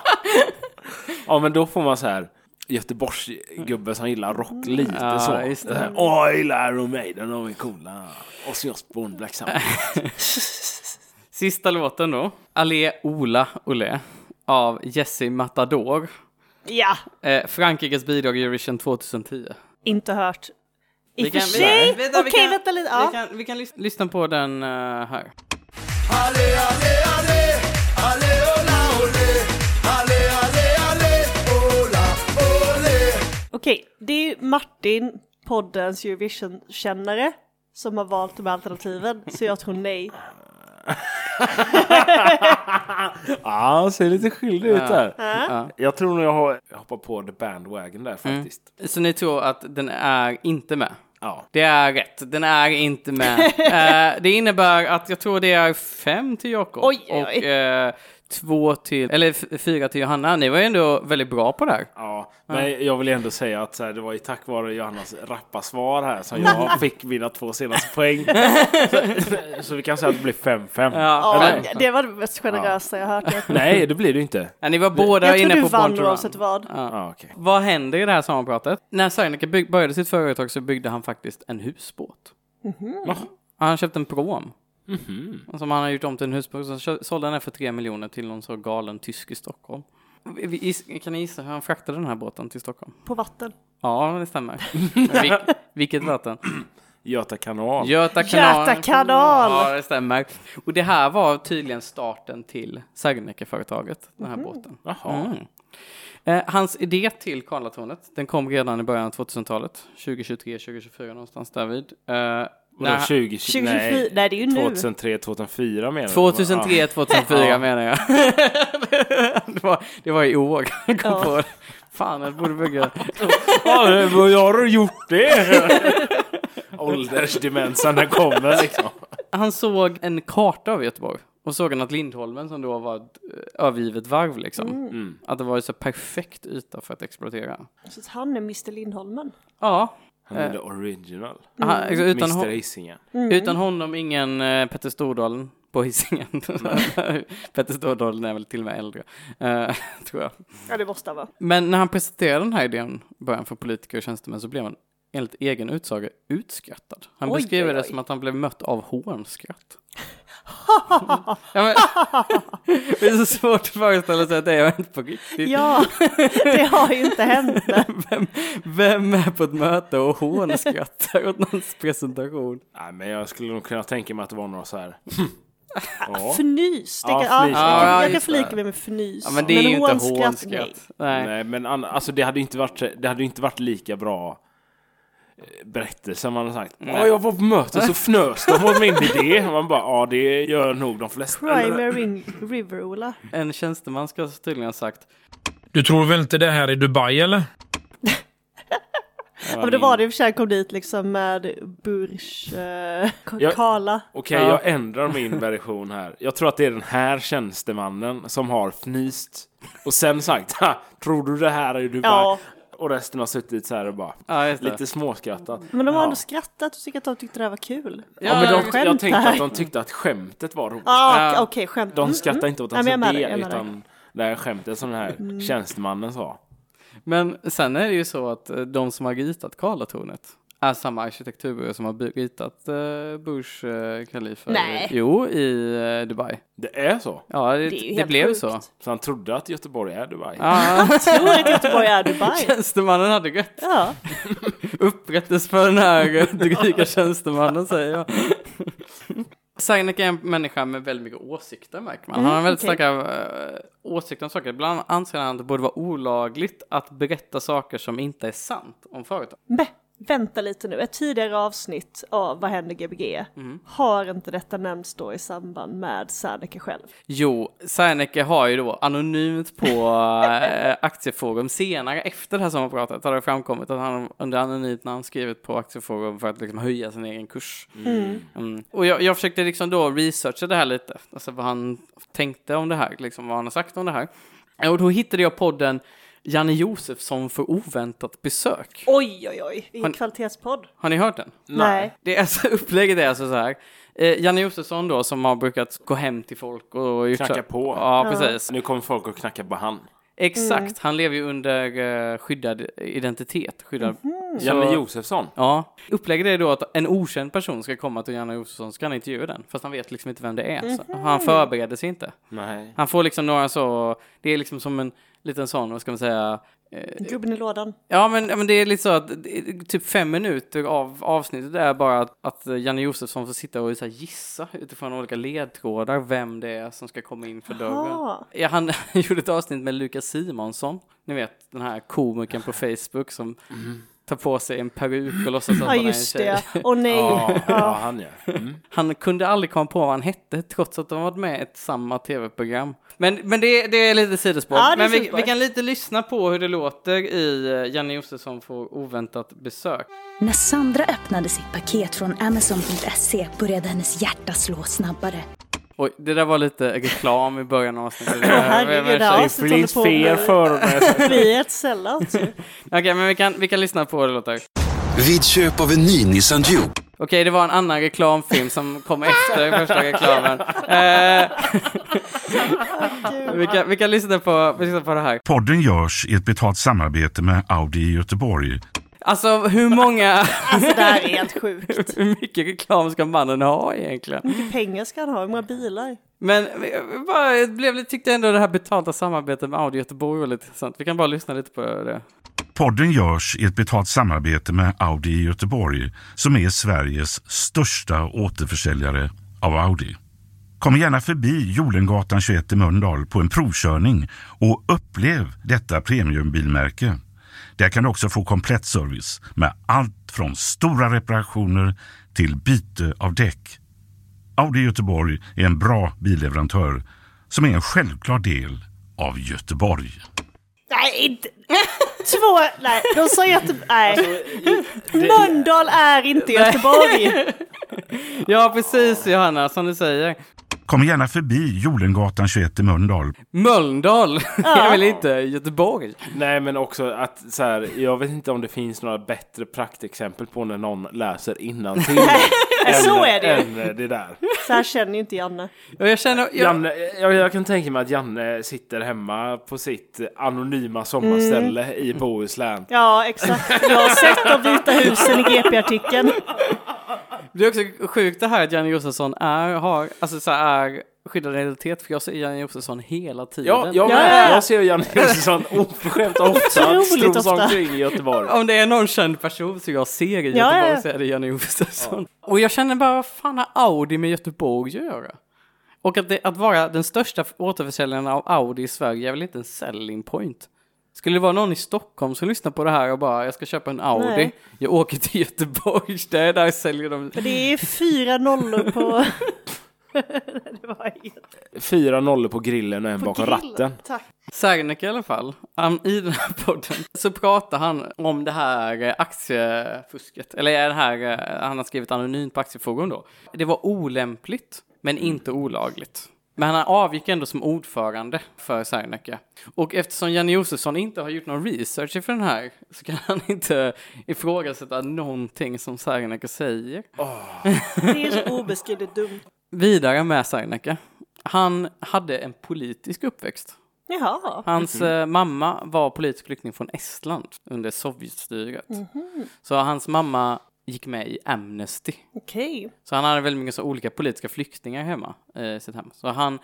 [SPEAKER 3] Ja men då får man så här Göteborgsgubbe som gillar rock lite
[SPEAKER 1] Mm. Ja,
[SPEAKER 3] så.
[SPEAKER 1] just det.
[SPEAKER 3] Så här, Åh jag gillar Iron Maiden, de är coola. Ozzy Osbourne,
[SPEAKER 1] [laughs]
[SPEAKER 3] Black Sabbath.
[SPEAKER 1] Sista låten då. Allé Ola Olle av Jesse Matador.
[SPEAKER 2] Ja,
[SPEAKER 1] Eh, Frankrikes bidrag i Eurovision 2010.
[SPEAKER 2] inte hört. I
[SPEAKER 1] Vi
[SPEAKER 2] och
[SPEAKER 1] kan-
[SPEAKER 2] för sig.
[SPEAKER 1] vi-
[SPEAKER 2] Okej,
[SPEAKER 1] vi kan-
[SPEAKER 2] vänta lite.
[SPEAKER 1] Vi
[SPEAKER 2] Ja.
[SPEAKER 1] kan, vi kan lys- lyssna på den eh, här.
[SPEAKER 6] Allez, allez, allez, allez, hola, olé. Allez, allez, allez, hola, olé.
[SPEAKER 2] Okej, det är ju Martin, poddens Eurovision-kännare, som har valt de här alternativen, så jag tror nej.
[SPEAKER 3] Ja, ser lite skyldig ut där.
[SPEAKER 1] Ja. Mm.
[SPEAKER 3] Jag tror nog jag har jag hoppar på the bandwagon där faktiskt.
[SPEAKER 1] Så ni tror att den är inte med?
[SPEAKER 3] Ja.
[SPEAKER 1] Det är rätt, den är inte
[SPEAKER 2] [laughs]
[SPEAKER 1] med. Eh, det innebär att jag tror det är fem till Jakob
[SPEAKER 2] Oj, oj, oj.
[SPEAKER 1] och eh, två till, eller f- fyra till Johanna. Ni var ju ändå väldigt bra på det här.
[SPEAKER 3] Ja, men jag vill ändå säga att så här, det var ju tack vare Johannas rappa svar här
[SPEAKER 1] [laughs]
[SPEAKER 3] som jag fick mina två senaste poäng. Så, så vi kan säga att det blir 5-5.
[SPEAKER 1] Ja,
[SPEAKER 2] Ja,
[SPEAKER 1] fem.
[SPEAKER 2] det var det mest generösa jag hört. Jag
[SPEAKER 3] Nej, det blir det ju inte.
[SPEAKER 1] Ja, ni var båda
[SPEAKER 2] jag
[SPEAKER 1] inne
[SPEAKER 2] tror du
[SPEAKER 1] på Born
[SPEAKER 2] vann
[SPEAKER 1] to Run.
[SPEAKER 2] oavsett vad.
[SPEAKER 3] Ja, okej.
[SPEAKER 1] Vad händer i det här sammanpratet? När Serneke bygg- började sitt företag så byggde han faktiskt en husbåt. Ja, Han köpte en pråm. Som han har gjort om till en husbåt. Så kö- sålde han den för 3 miljoner till någon så galen tysk i Stockholm. Vi- is- Kan ni gissa hur han fraktade den här båten till Stockholm?
[SPEAKER 2] På vatten.
[SPEAKER 1] Ja, det stämmer. Vil- vilket vatten?
[SPEAKER 3] Göta kanal.
[SPEAKER 1] Göta kanal.
[SPEAKER 2] Göta kanal.
[SPEAKER 1] Ja, det stämmer. Och det här var tydligen starten till Serneke-företaget, den här båten.
[SPEAKER 3] Jaha.
[SPEAKER 1] Mm. Eh, hans idé till Karlatornet, den kom redan i början av 2000-talet, 2023, 2024 någonstans därvid. Eh, [laughs]
[SPEAKER 3] Vadå,
[SPEAKER 1] när-
[SPEAKER 3] 20,
[SPEAKER 2] 2024, nej det är ju nu.
[SPEAKER 3] 2003, 2004 menar du?
[SPEAKER 1] 2003,
[SPEAKER 3] Ja.
[SPEAKER 1] 2004 menar jag. [laughs] det, var, det var i år jag kom
[SPEAKER 2] Ja.
[SPEAKER 1] på det. Fan, jag borde bygga.
[SPEAKER 3] Ja, det- vad har du
[SPEAKER 1] [laughs]
[SPEAKER 3] gjort det? Åldersdemensen den kommer liksom.
[SPEAKER 1] Han såg en karta av Göteborg och såg han att Lindholmen som då var ett eh, övergivet varv liksom,
[SPEAKER 3] Mm.
[SPEAKER 1] att det var en så perfekt yta för att exploatera.
[SPEAKER 2] Så att han är Mr Lindholmen. Mm.
[SPEAKER 1] Ja,
[SPEAKER 3] Han är the original.
[SPEAKER 1] han, alltså, utan,
[SPEAKER 3] Mr
[SPEAKER 1] hon,
[SPEAKER 3] Hisingen.
[SPEAKER 1] utan honom ingen eh, Petter Stordalen på Hisingen. [laughs] Petter Stordalen är väl till och med äldre, eh, tror jag.
[SPEAKER 2] Ja det måste han vara. [laughs]
[SPEAKER 1] Men när han presenterade den här idén i början för politiker och tjänstemän så blev han enligt egen utsaga utskrattad. Han
[SPEAKER 2] Oj,
[SPEAKER 1] beskriver
[SPEAKER 2] oj,
[SPEAKER 1] det
[SPEAKER 2] oj.
[SPEAKER 1] som att han blev mött av hånskratt. ja, men, [laughs] det är så svårt att föreställa sig att det har hänt på riktigt.
[SPEAKER 2] Ja, det har ju inte hänt.
[SPEAKER 1] [laughs] Vem, vem är på ett möte och hånskrattar åt någons presentation?
[SPEAKER 3] Nej, men jag skulle nog kunna tänka mig att det var några så här. Ja.
[SPEAKER 2] Förnys. Det kan,
[SPEAKER 3] Ja,
[SPEAKER 2] ja,
[SPEAKER 3] fnys.
[SPEAKER 1] Ja,
[SPEAKER 2] jag, jag kan
[SPEAKER 1] just
[SPEAKER 2] förlika
[SPEAKER 1] det.
[SPEAKER 2] mig med förnys.
[SPEAKER 1] Ja, men det är ju inte
[SPEAKER 2] hånskratt, nej.
[SPEAKER 1] hånskratt. Nej.
[SPEAKER 3] Nej, men an- alltså det hade ju inte varit, det hade ju inte varit lika bra eh, berättelse om man hade sagt Ja, jag var på möte så fnös de åt min idé. Och Man bara, ja det gör nog de flesta.
[SPEAKER 2] Primary Ring- River, Ola.
[SPEAKER 1] En tjänsteman ska tydligen ha sagt.
[SPEAKER 5] Du tror väl inte det här är Dubai eller?
[SPEAKER 2] Ja, men det var det i och för sig, jag kom dit liksom med Burj eh,
[SPEAKER 3] Ja.
[SPEAKER 2] Kala.
[SPEAKER 3] Okej,
[SPEAKER 1] Ja.
[SPEAKER 3] jag ändrar min version här. Jag tror att det är den här tjänstemannen som har fnyst och sen sagt, ha, tror du det här är du
[SPEAKER 2] Ja,
[SPEAKER 3] Och resten har suttit så här och bara
[SPEAKER 1] Ja, just det.
[SPEAKER 3] lite småskrattat.
[SPEAKER 2] men de har
[SPEAKER 3] Ja.
[SPEAKER 2] ändå skrattat och tyckte att de tyckte det här var kul.
[SPEAKER 3] Ja, men de,
[SPEAKER 2] skämt
[SPEAKER 3] jag tänkte
[SPEAKER 2] här.
[SPEAKER 3] att de tyckte att skämtet var roligt.
[SPEAKER 2] Ah,
[SPEAKER 1] Ja.
[SPEAKER 2] Okej, skämt.
[SPEAKER 3] De skrattade inte åt
[SPEAKER 2] Nej,
[SPEAKER 3] hans
[SPEAKER 2] Mm. men jag är med dig,
[SPEAKER 3] idé
[SPEAKER 2] jag Mm. är med
[SPEAKER 3] utan det här skämtet som den här tjänstemannen sa.
[SPEAKER 1] Men sen är det ju så att eh, de som har ritat Karlatornet är samma arkitekturbyrå som har by- ritat eh, Bush eh, kalifer.
[SPEAKER 2] Nej.
[SPEAKER 1] Jo, i eh, Dubai.
[SPEAKER 3] Det är så?
[SPEAKER 1] Ja, det,
[SPEAKER 2] Det är ju
[SPEAKER 1] det,
[SPEAKER 2] helt
[SPEAKER 1] blev
[SPEAKER 2] sjukt.
[SPEAKER 1] så.
[SPEAKER 3] Så han trodde att Göteborg är Dubai?
[SPEAKER 2] [laughs]
[SPEAKER 1] Ja,
[SPEAKER 2] tror att Göteborg är Dubai.
[SPEAKER 1] [laughs] tjänstemannen hade rätt.
[SPEAKER 2] Ja.
[SPEAKER 1] Upprättelse för den här [laughs] eh, dryga tjänstemannen säger jag. Sarnek är en människa med väldigt mycket åsikter märker man. Han har väldigt
[SPEAKER 2] okej.
[SPEAKER 1] starka eh, åsikter om saker. Ibland anser han att det borde vara olagligt att berätta saker som inte är sant om företag.
[SPEAKER 2] Men vänta lite nu, ett tidigare avsnitt av Vad händer Gbg?
[SPEAKER 1] Mm.
[SPEAKER 2] Har inte detta nämnts då i samband med Serneke själv?
[SPEAKER 1] Jo, Serneke har ju då anonymt
[SPEAKER 3] [laughs]
[SPEAKER 1] på eh, Aktieforum senare efter det här sommarpratet har det framkommit att han under anonymt namn skrivit på Aktieforum för att liksom höja sin egen kurs. Mm. Och jag, jag försökte liksom då researcha det här lite, alltså vad han tänkte om det här, liksom vad han har sagt om det här. Och då hittade jag podden Janne Josefsson för oväntat besök.
[SPEAKER 2] Oj, oj, oj, i
[SPEAKER 1] Har-
[SPEAKER 2] kvalitetspodd.
[SPEAKER 1] Har ni hört den?
[SPEAKER 2] Nej.
[SPEAKER 1] Det är alltså, [laughs] upplägget är alltså så här. Eh, Janne Josefsson då som har brukat gå hem till folk och gjort så-
[SPEAKER 3] Knacka på.
[SPEAKER 1] Ja, precis.
[SPEAKER 3] Nu kommer folk att knacka på han.
[SPEAKER 2] Mm.
[SPEAKER 1] Exakt, han lever ju under eh, skyddad identitet. Skyddad... Så-
[SPEAKER 3] Janne Josefsson.
[SPEAKER 1] Ja. Upplägget är då att en okänd person ska komma till Janne Josefsson, ska han intervjua den, fast han vet liksom inte vem det är. Så han förbereder sig inte.
[SPEAKER 3] Nej.
[SPEAKER 1] Han får liksom några så, det är liksom som en liten sån, vad ska man säga,
[SPEAKER 2] Gubben i lådan.
[SPEAKER 1] Ja men, ja, men det är lite så att det är typ fem minuter av avsnittet är bara att, att Janne Josefsson får sitta och så här gissa utifrån olika ledtrådar vem det är som ska komma in för dörren.
[SPEAKER 2] Jaha.
[SPEAKER 1] Ja, han [laughs] gjorde ett avsnitt med Lukas Simonsson, ni vet den här komikern på Facebook som tar på sig en peruk och låtsas att
[SPEAKER 2] Ja,
[SPEAKER 1] han är en
[SPEAKER 2] just
[SPEAKER 1] tjej.
[SPEAKER 2] det. Åh nej.
[SPEAKER 3] Ja, ja, han ja. Mm.
[SPEAKER 1] [laughs] Han kunde aldrig komma på vad han hette trots att de varit med i ett samma tv-program. Men, men det, det är lite sidospår.
[SPEAKER 2] Ja, det är
[SPEAKER 1] men vi,
[SPEAKER 2] sidospår.
[SPEAKER 1] vi kan lite lyssna på hur det låter i eh, Janne Josefsson får oväntat besök.
[SPEAKER 7] När Sandra öppnade sitt paket från Amazon.se E började hennes hjärta slå snabbare.
[SPEAKER 1] Oj, det där var lite reklam i början av avsnittet. Jag- jag- jag-
[SPEAKER 2] herregud,
[SPEAKER 1] jag-
[SPEAKER 2] [laughs] ja.
[SPEAKER 1] jag-
[SPEAKER 2] Avsnitt håller på med- [laughs]
[SPEAKER 3] för
[SPEAKER 2] Bli ett alltså. sellout.
[SPEAKER 1] Okej, men vi kan, vi kan lyssna på hur det låter.
[SPEAKER 8] Vid köp av en ny Nissan Duke.
[SPEAKER 1] Okej, det var en annan reklamfilm som kom efter första
[SPEAKER 2] [laughs]
[SPEAKER 1] reklamen. Eh, vi, kan, vi kan lyssna på, vi lyssnar på det här.
[SPEAKER 9] Podden görs i ett betalt samarbete med Audi i Göteborg.
[SPEAKER 1] Alltså, hur många,
[SPEAKER 2] Alltså det här är helt sjukt.
[SPEAKER 1] [laughs] hur mycket reklam ska mannen ha egentligen?
[SPEAKER 2] Hur pengar ska han ha? Hur många bilar?
[SPEAKER 1] Men jag bara, jag blev, lite- tyckte ändå det här betalda samarbetet med Audi Göteborg var lite intressant. Vi kan bara lyssna lite på det.
[SPEAKER 9] Podden görs i ett betalt samarbete med Audi i Göteborg som är Sveriges största återförsäljare av Audi. Kom gärna förbi Jolengatan 21 i Mölndal på en provkörning och upplev detta premiumbilmärke. Där kan du också få komplett service med allt från stora reparationer till byte av däck. Audi Göteborg är en bra billeverantör som är en självklar del av Göteborg.
[SPEAKER 2] Nej, inte... Två... Nej, de sa Göteborg... Nej.
[SPEAKER 3] det,
[SPEAKER 2] Mölndal är inte Göteborg.
[SPEAKER 1] Ja, precis Johanna, som du säger.
[SPEAKER 9] Kom gärna förbi Jolengatan 21 i Mölndal.
[SPEAKER 1] Mölndal [laughs] är väl inte Göteborg?
[SPEAKER 3] Nej, men också att så här, jag vet inte om det finns några bättre praktexempel på när någon
[SPEAKER 2] [laughs]
[SPEAKER 3] läser innantill. än-
[SPEAKER 2] så är det ju.
[SPEAKER 3] än, eh, det där.
[SPEAKER 2] Så här känner ju inte Janne.
[SPEAKER 1] Och jag känner, jag,
[SPEAKER 3] Janne, jag, jag kan tänka mig att Janne sitter hemma på sitt anonyma sommarställe i Bohuslän.
[SPEAKER 2] Ja, exakt. Jag har sett de vita husen i GP-artikeln.
[SPEAKER 1] det är också sjukt det här att Janne Josefsson är, har, alltså så här, är skyddad identitet, för jag ser Janne Josefsson hela tiden.
[SPEAKER 3] Ja, jag,
[SPEAKER 2] Ja,
[SPEAKER 3] med.
[SPEAKER 2] ja, ja.
[SPEAKER 3] jag ser Janne Josefsson oförskämt ofta
[SPEAKER 2] Otroligt
[SPEAKER 3] strosa
[SPEAKER 2] ofta.
[SPEAKER 3] omkring i Göteborg.
[SPEAKER 1] Om det är någon känd person som jag ser i Göteborg
[SPEAKER 2] ja, ja.
[SPEAKER 1] så är det Janne Josefsson. Och jag känner bara, vad fan har Audi med Göteborg att göra? Och att, det, att vara den största återförsäljaren av Audi i Sverige är väl inte en selling point? Skulle det vara någon i Stockholm som lyssnar på det här och bara jag ska köpa en Audi,
[SPEAKER 2] Nej.
[SPEAKER 1] jag åker till Göteborg, där, där säljer de
[SPEAKER 2] Men det är fyra nollor på... [laughs] det var inget.
[SPEAKER 3] Fyra nollor på grillen och en
[SPEAKER 2] På
[SPEAKER 3] bakom
[SPEAKER 2] grill.
[SPEAKER 3] ratten.
[SPEAKER 2] Tack.
[SPEAKER 1] Serneke i alla fall, han- i den här podden, så pratar han om det här eh, aktiefusket. Eller är det här, eh, han har skrivit anonymt på aktieforum då. Det var olämpligt, men inte olagligt. Men han avgick ändå som ordförande för Serneke. Och eftersom Janne Josefsson inte har gjort någon research inför den här så kan han inte ifrågasätta någonting som Serneke säger.
[SPEAKER 2] Det är så obeskrivligt dumt.
[SPEAKER 1] Vidare med Serneke. Han hade en politisk uppväxt.
[SPEAKER 2] Jaha.
[SPEAKER 1] Hans eh, mamma var politisk flykting från Estland under Sovjetstyret.
[SPEAKER 2] Mm-hmm.
[SPEAKER 1] Så hans mamma gick med i Amnesty.
[SPEAKER 2] Okej.
[SPEAKER 1] Så han hade väldigt mycket så olika politiska flyktingar hemma eh, i sitt hem. Så han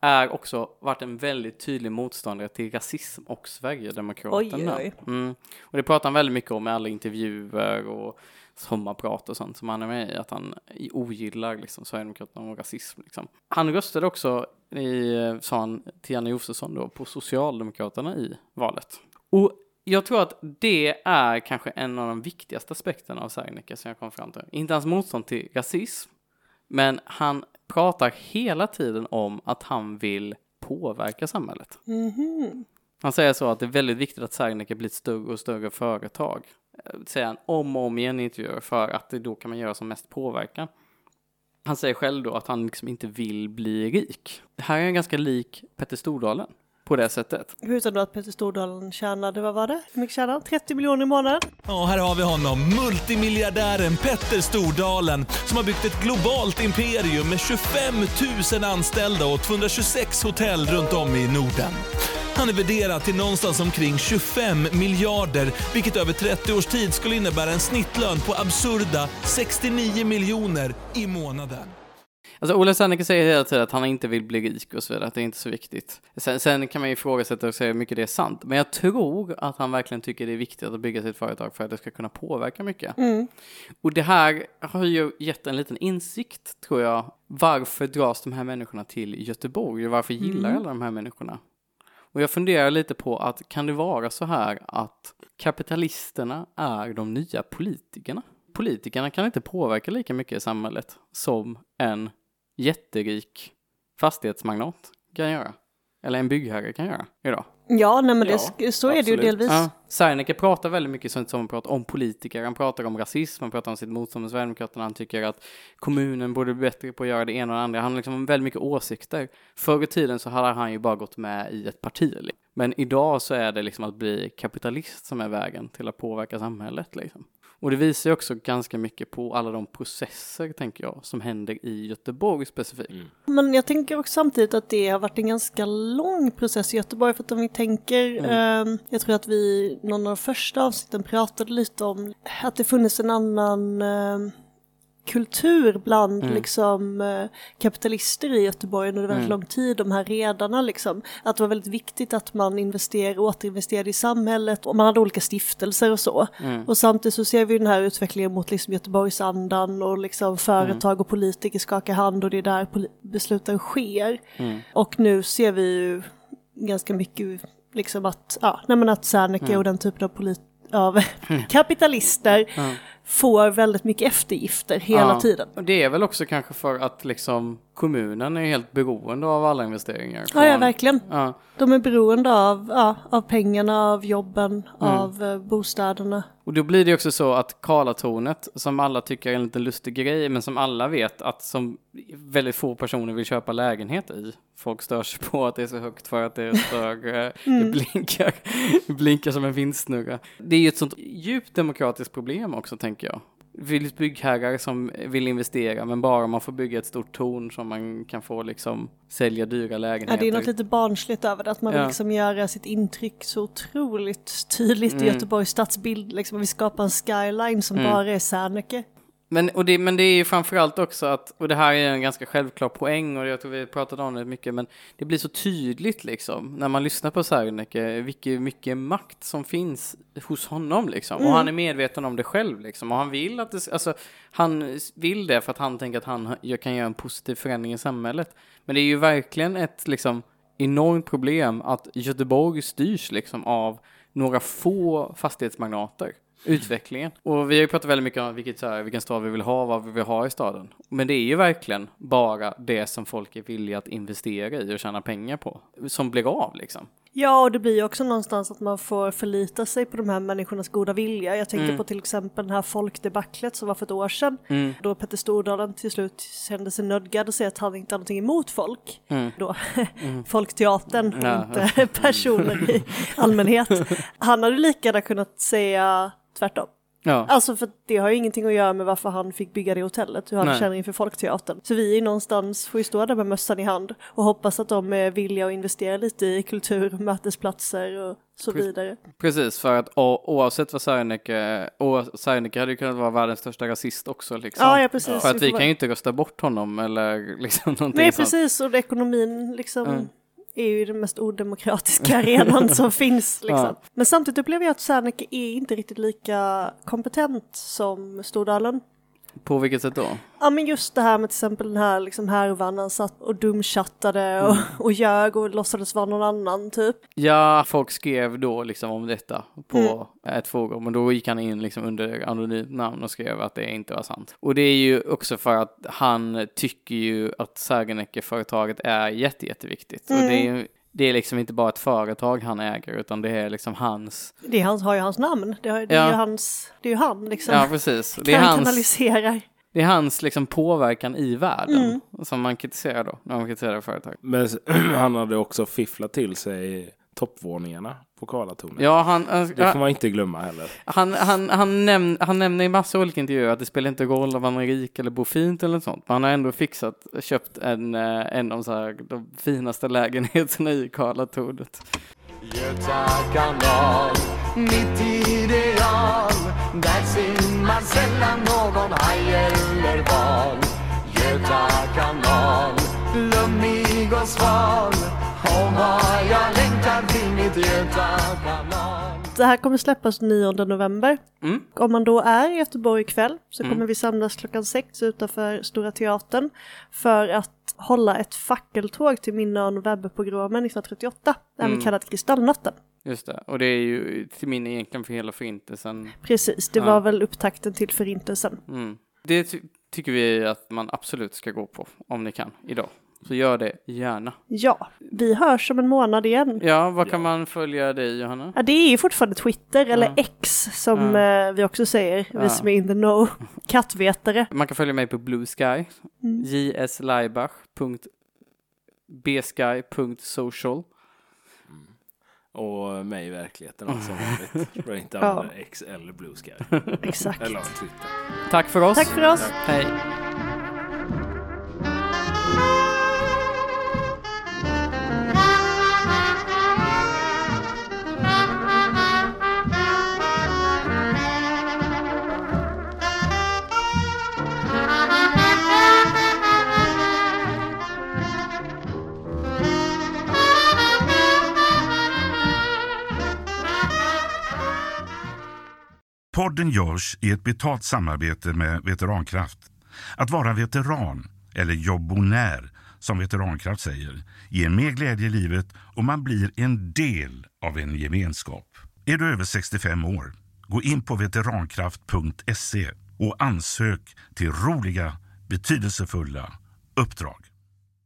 [SPEAKER 1] är också varit en väldigt tydlig motståndare till rasism och Sverigedemokraterna.
[SPEAKER 2] Oj, oj.
[SPEAKER 1] Mm. Och det pratar han väldigt mycket om i alla intervjuer och sommarprat och sånt som han är med i, att han ogillar liksom Sverigedemokraterna och rasism. Liksom. Han röstade också, i, sa han till Janne Josefsson då, på Socialdemokraterna i valet. Och jag tror att det är kanske en av de viktigaste aspekterna av Serneke som jag kom fram till. Inte hans motstånd till rasism, men han pratar hela tiden om att han vill påverka samhället. Han säger så att det är väldigt viktigt att Serneke blir ett större och större företag. Eh, Säger han om och om igen i intervjuer för att det då kan man göra som mest påverkan. Han säger själv då att han liksom inte vill bli rik. Det här är en ganska lik Petter Stordalen på det sättet.
[SPEAKER 2] Utan då att Peter Stordalen tjänade, vad var det? Hur mycket tjänade han? 30 miljoner i månaden?
[SPEAKER 10] Ja, här har vi honom, multimiljonären Petter Stordalen som har byggt ett globalt imperium med 25 000 anställda och 226 hotell runt om i Norden. Han är värderad till någonstans omkring 25 miljarder, vilket över 30 års tid skulle innebära en snittlön på absurda 69 miljoner i månaden.
[SPEAKER 1] Alltså Ola Serneke säger hela tiden att han inte vill bli rik och så vidare, att det är inte är så viktigt. Sen, sen kan man ju ifrågasätta och säga hur mycket det är sant, men jag tror att han verkligen tycker det är viktigt att bygga sitt företag för att det ska kunna påverka mycket. Och det här har ju gett en liten insikt, tror jag. Varför dras de här människorna till Göteborg? Och Varför gillar alla de här människorna? Och jag funderar lite på att kan det vara så här att kapitalisterna är de nya politikerna? Politikerna kan inte påverka lika mycket i samhället som en jätterik fastighetsmagnat kan göra. Eller en byggherre kan göra idag.
[SPEAKER 2] Ja, nej men
[SPEAKER 3] Ja,
[SPEAKER 2] det, sk- så är det ju
[SPEAKER 3] absolut.
[SPEAKER 2] delvis.
[SPEAKER 1] Ja. Serneke pratar väldigt mycket sånt som han pratar om politiker, han pratar om rasism, han pratar om sitt motstånd mot Sverigedemokraterna, han tycker att kommunen borde bli bättre på att göra det ena och det andra. Han har liksom väldigt mycket åsikter. Förr i tiden så hade han ju bara gått med i ett parti. liksom. Men idag så är det liksom att bli kapitalist som är vägen till att påverka samhället. Liksom. Och det visar ju också ganska mycket på alla de processer, tänker jag, som händer i Göteborg specifikt.
[SPEAKER 2] Men jag tänker också samtidigt att det har varit en ganska lång process i Göteborg. För att om vi tänker,
[SPEAKER 3] Mm.
[SPEAKER 2] eh, jag tror att vi i någon av de första avsnitten pratade lite om att det funnits en annan eh, kultur bland liksom, eh, kapitalister i Göteborg under väldigt lång tid, de här redarna liksom. Att det var väldigt viktigt att man investerade, återinvesterade i samhället och man hade olika stiftelser och så. Och samtidigt så ser vi den här utvecklingen mot liksom Göteborgsandan och liksom företag och politiker skakar hand och det är där poli- besluten sker. Och nu ser vi ju ganska mycket liksom att, ja, nej men att Serneke
[SPEAKER 1] Mm.
[SPEAKER 2] och den typen av polit av [laughs] kapitalister får väldigt mycket eftergifter hela
[SPEAKER 1] Ja.
[SPEAKER 2] tiden.
[SPEAKER 1] Och det är väl också kanske för att liksom kommunen är helt beroende av alla investeringar.
[SPEAKER 2] Ja, ja,
[SPEAKER 1] från-
[SPEAKER 2] verkligen.
[SPEAKER 1] Ja.
[SPEAKER 2] De är beroende av, ja, av pengarna, av jobben,
[SPEAKER 1] Mm.
[SPEAKER 2] av eh, bostäderna.
[SPEAKER 1] Och då blir det också så att Karlatornet, som alla tycker är en liten lustig grej, men som alla vet att som väldigt få personer vill köpa lägenhet i. Folk stör sig på att det är så högt för att det stör,
[SPEAKER 2] [laughs]
[SPEAKER 1] eh,
[SPEAKER 2] Mm.
[SPEAKER 1] det, blinkar, det blinkar som en vindsnurra. Det är ju ett sånt djupt demokratiskt problem också, tänker jag. Det finns byggherrar som vill investera, men bara man får bygga ett stort torn som man kan få liksom sälja dyra
[SPEAKER 2] Ja,
[SPEAKER 1] lägenheter.
[SPEAKER 2] det är något lite barnsligt över det, att man vill
[SPEAKER 1] Ja.
[SPEAKER 2] liksom göra sitt intryck så
[SPEAKER 1] Mm.
[SPEAKER 2] otroligt tydligt i Göteborgs stadsbild. Liksom, vi skapar en skyline som bara är Serneke.
[SPEAKER 1] Men, och det, men det är ju framförallt också att, och det här är en ganska självklar poäng och jag tror vi pratade om det mycket, men det blir så tydligt liksom när man lyssnar på Serneke vilken mycket makt som finns hos honom liksom.
[SPEAKER 11] Mm.
[SPEAKER 1] Och han är medveten om det själv liksom. Och han vill att det, alltså han vill det för att han tänker att han jag kan göra en positiv förändring i samhället. Men det är ju verkligen ett liksom enormt problem att Göteborg styrs liksom av några få fastighetsmagnater. Utvecklingen. Och vi har ju pratat väldigt mycket om vilket, så här, vilken stad vi vill ha, vad vi vill ha i staden. Men det är ju verkligen bara det som folk är villiga att investera i och tjäna pengar på. Som blir av liksom.
[SPEAKER 2] Ja, och det blir ju också någonstans att man får förlita sig på de här människornas goda vilja. Jag tänker
[SPEAKER 1] Mm.
[SPEAKER 2] på till exempel det här folkdebaclet som var för ett år sedan.
[SPEAKER 1] Mm.
[SPEAKER 2] Då Petter Stordalen till slut kände sig nödgad att säga att han inte hade någonting emot folk.
[SPEAKER 1] Mm.
[SPEAKER 2] Då, [laughs]
[SPEAKER 1] Mm.
[SPEAKER 2] Folkteatern, och
[SPEAKER 1] Ja.
[SPEAKER 2] inte [laughs] personer i
[SPEAKER 1] [laughs]
[SPEAKER 2] allmänhet. Han hade lika gärna kunnat säga tvärtom.
[SPEAKER 1] Ja.
[SPEAKER 2] Alltså för att det har ju ingenting att göra med varför han fick bygga det hotellet, hur han
[SPEAKER 1] Nej.
[SPEAKER 2] känner inför Folkteatern. Så vi är någonstans, får ju stå där med mössan i hand och hoppas att de är villiga att investera lite i kultur, mötesplatser och så
[SPEAKER 1] Precis.
[SPEAKER 2] vidare.
[SPEAKER 1] Precis, för att o- oavsett vad Serneke, oa- Serneke hade ju kunnat vara världens största rasist också liksom.
[SPEAKER 2] Ja, ja, precis.
[SPEAKER 1] För
[SPEAKER 2] Vi
[SPEAKER 1] att
[SPEAKER 2] får
[SPEAKER 1] vi
[SPEAKER 2] bara-
[SPEAKER 1] kan ju inte rösta bort honom eller [laughs] liksom någonting
[SPEAKER 2] Nej,
[SPEAKER 1] sånt.
[SPEAKER 2] precis, och ekonomin liksom
[SPEAKER 1] Mm.
[SPEAKER 2] är ju den mest odemokratiska [laughs]
[SPEAKER 1] [laughs]
[SPEAKER 2] arenan som finns. Liksom.
[SPEAKER 1] Ja.
[SPEAKER 2] Men samtidigt upplever jag att Serneke är inte riktigt lika kompetent som Stordalen.
[SPEAKER 1] På vilket sätt då?
[SPEAKER 2] Ja men just det här med till exempel den här liksom härvan, han satt och dumchattade och,
[SPEAKER 1] Mm.
[SPEAKER 2] och ljög och låtsades vara någon annan typ.
[SPEAKER 1] Ja, folk skrev då liksom om detta på
[SPEAKER 2] Mm.
[SPEAKER 1] ett forum och då gick han in liksom under anonymt namn och skrev att det inte var sant. Och det är ju också för att han tycker ju att Serneke-företaget är jätte, jätteviktigt.
[SPEAKER 2] Mm.
[SPEAKER 1] Och det är ju det är liksom inte bara ett företag han äger utan det är liksom hans...
[SPEAKER 2] Det är hans, har ju hans namn, det, har, det är
[SPEAKER 1] Ja.
[SPEAKER 2] ju hans, det är ju han liksom.
[SPEAKER 1] Ja, precis. Det
[SPEAKER 2] Det
[SPEAKER 1] är
[SPEAKER 2] han
[SPEAKER 1] hans,
[SPEAKER 2] kanaliserar.
[SPEAKER 1] det är hans liksom påverkan i världen
[SPEAKER 2] Mm.
[SPEAKER 1] som man kritiserar då, när man kritiserar företag.
[SPEAKER 3] Men s- [clears throat] han hade också fifflat till sig toppvåningarna på Karlatornet.
[SPEAKER 1] Ja, han-
[SPEAKER 3] det får man inte glömma heller.
[SPEAKER 1] Han, han, han, näm han nämner i massa olika intervjuer att det spelar inte roll om man är rik eller bor fint eller något sånt. Men han har ändå fixat, köpt en, eh, en av de så här, de finaste lägenheterna i Karlatornet.
[SPEAKER 6] Göta kanal, mitt ideal. Där simmar sällan någon haj eller val. Göta kanal, lummig och sval. Och vad jag längtar till mitt Göta kanal.
[SPEAKER 2] Det här kommer släppas 9 november.
[SPEAKER 1] Mm.
[SPEAKER 2] Om man då är i Göteborg ikväll så
[SPEAKER 1] Mm.
[SPEAKER 2] kommer vi samlas klockan sex utanför Stora Teatern för att hålla ett fackeltåg till minne av novemberpogromen 1938, även
[SPEAKER 1] Mm.
[SPEAKER 2] kallat Kristallnatten.
[SPEAKER 1] Just det, och det är ju till min egentligen för hela förintelsen.
[SPEAKER 2] Precis, det
[SPEAKER 1] Ja.
[SPEAKER 2] var väl upptakten till Förintelsen.
[SPEAKER 1] Mm. Det ty tycker vi att man absolut ska gå på, om ni kan, idag. Så gör det gärna.
[SPEAKER 2] Ja, vi hörs om en månad igen.
[SPEAKER 1] Ja, vad kan man följa dig, Johanna?
[SPEAKER 2] Ja, det är ju fortfarande Twitter, eller
[SPEAKER 1] Ja.
[SPEAKER 2] X som
[SPEAKER 1] Ja.
[SPEAKER 2] eh, vi också säger,
[SPEAKER 1] Ja.
[SPEAKER 2] vi som är in the
[SPEAKER 1] [laughs]
[SPEAKER 2] know, kattvetare.
[SPEAKER 1] Man kan följa mig på Blue Sky,
[SPEAKER 2] Mm.
[SPEAKER 1] jslaibach.bsky.social.
[SPEAKER 3] Och mig i verkligheten också som vanligt. Bör inte
[SPEAKER 1] Ja.
[SPEAKER 3] använda X eller Blue Sky.
[SPEAKER 1] Exakt.
[SPEAKER 3] Eller Twitter.
[SPEAKER 1] Tack för oss.
[SPEAKER 3] Tack för oss. Tack.
[SPEAKER 1] Hej.
[SPEAKER 9] Podden görs i ett betalt samarbete med Veterankraft. Att vara veteran, eller jobbonär som Veterankraft säger, ger mer glädje i livet och man blir en del av en gemenskap. Är du över 65 år, gå in på veterankraft.se och ansök till roliga, betydelsefulla uppdrag.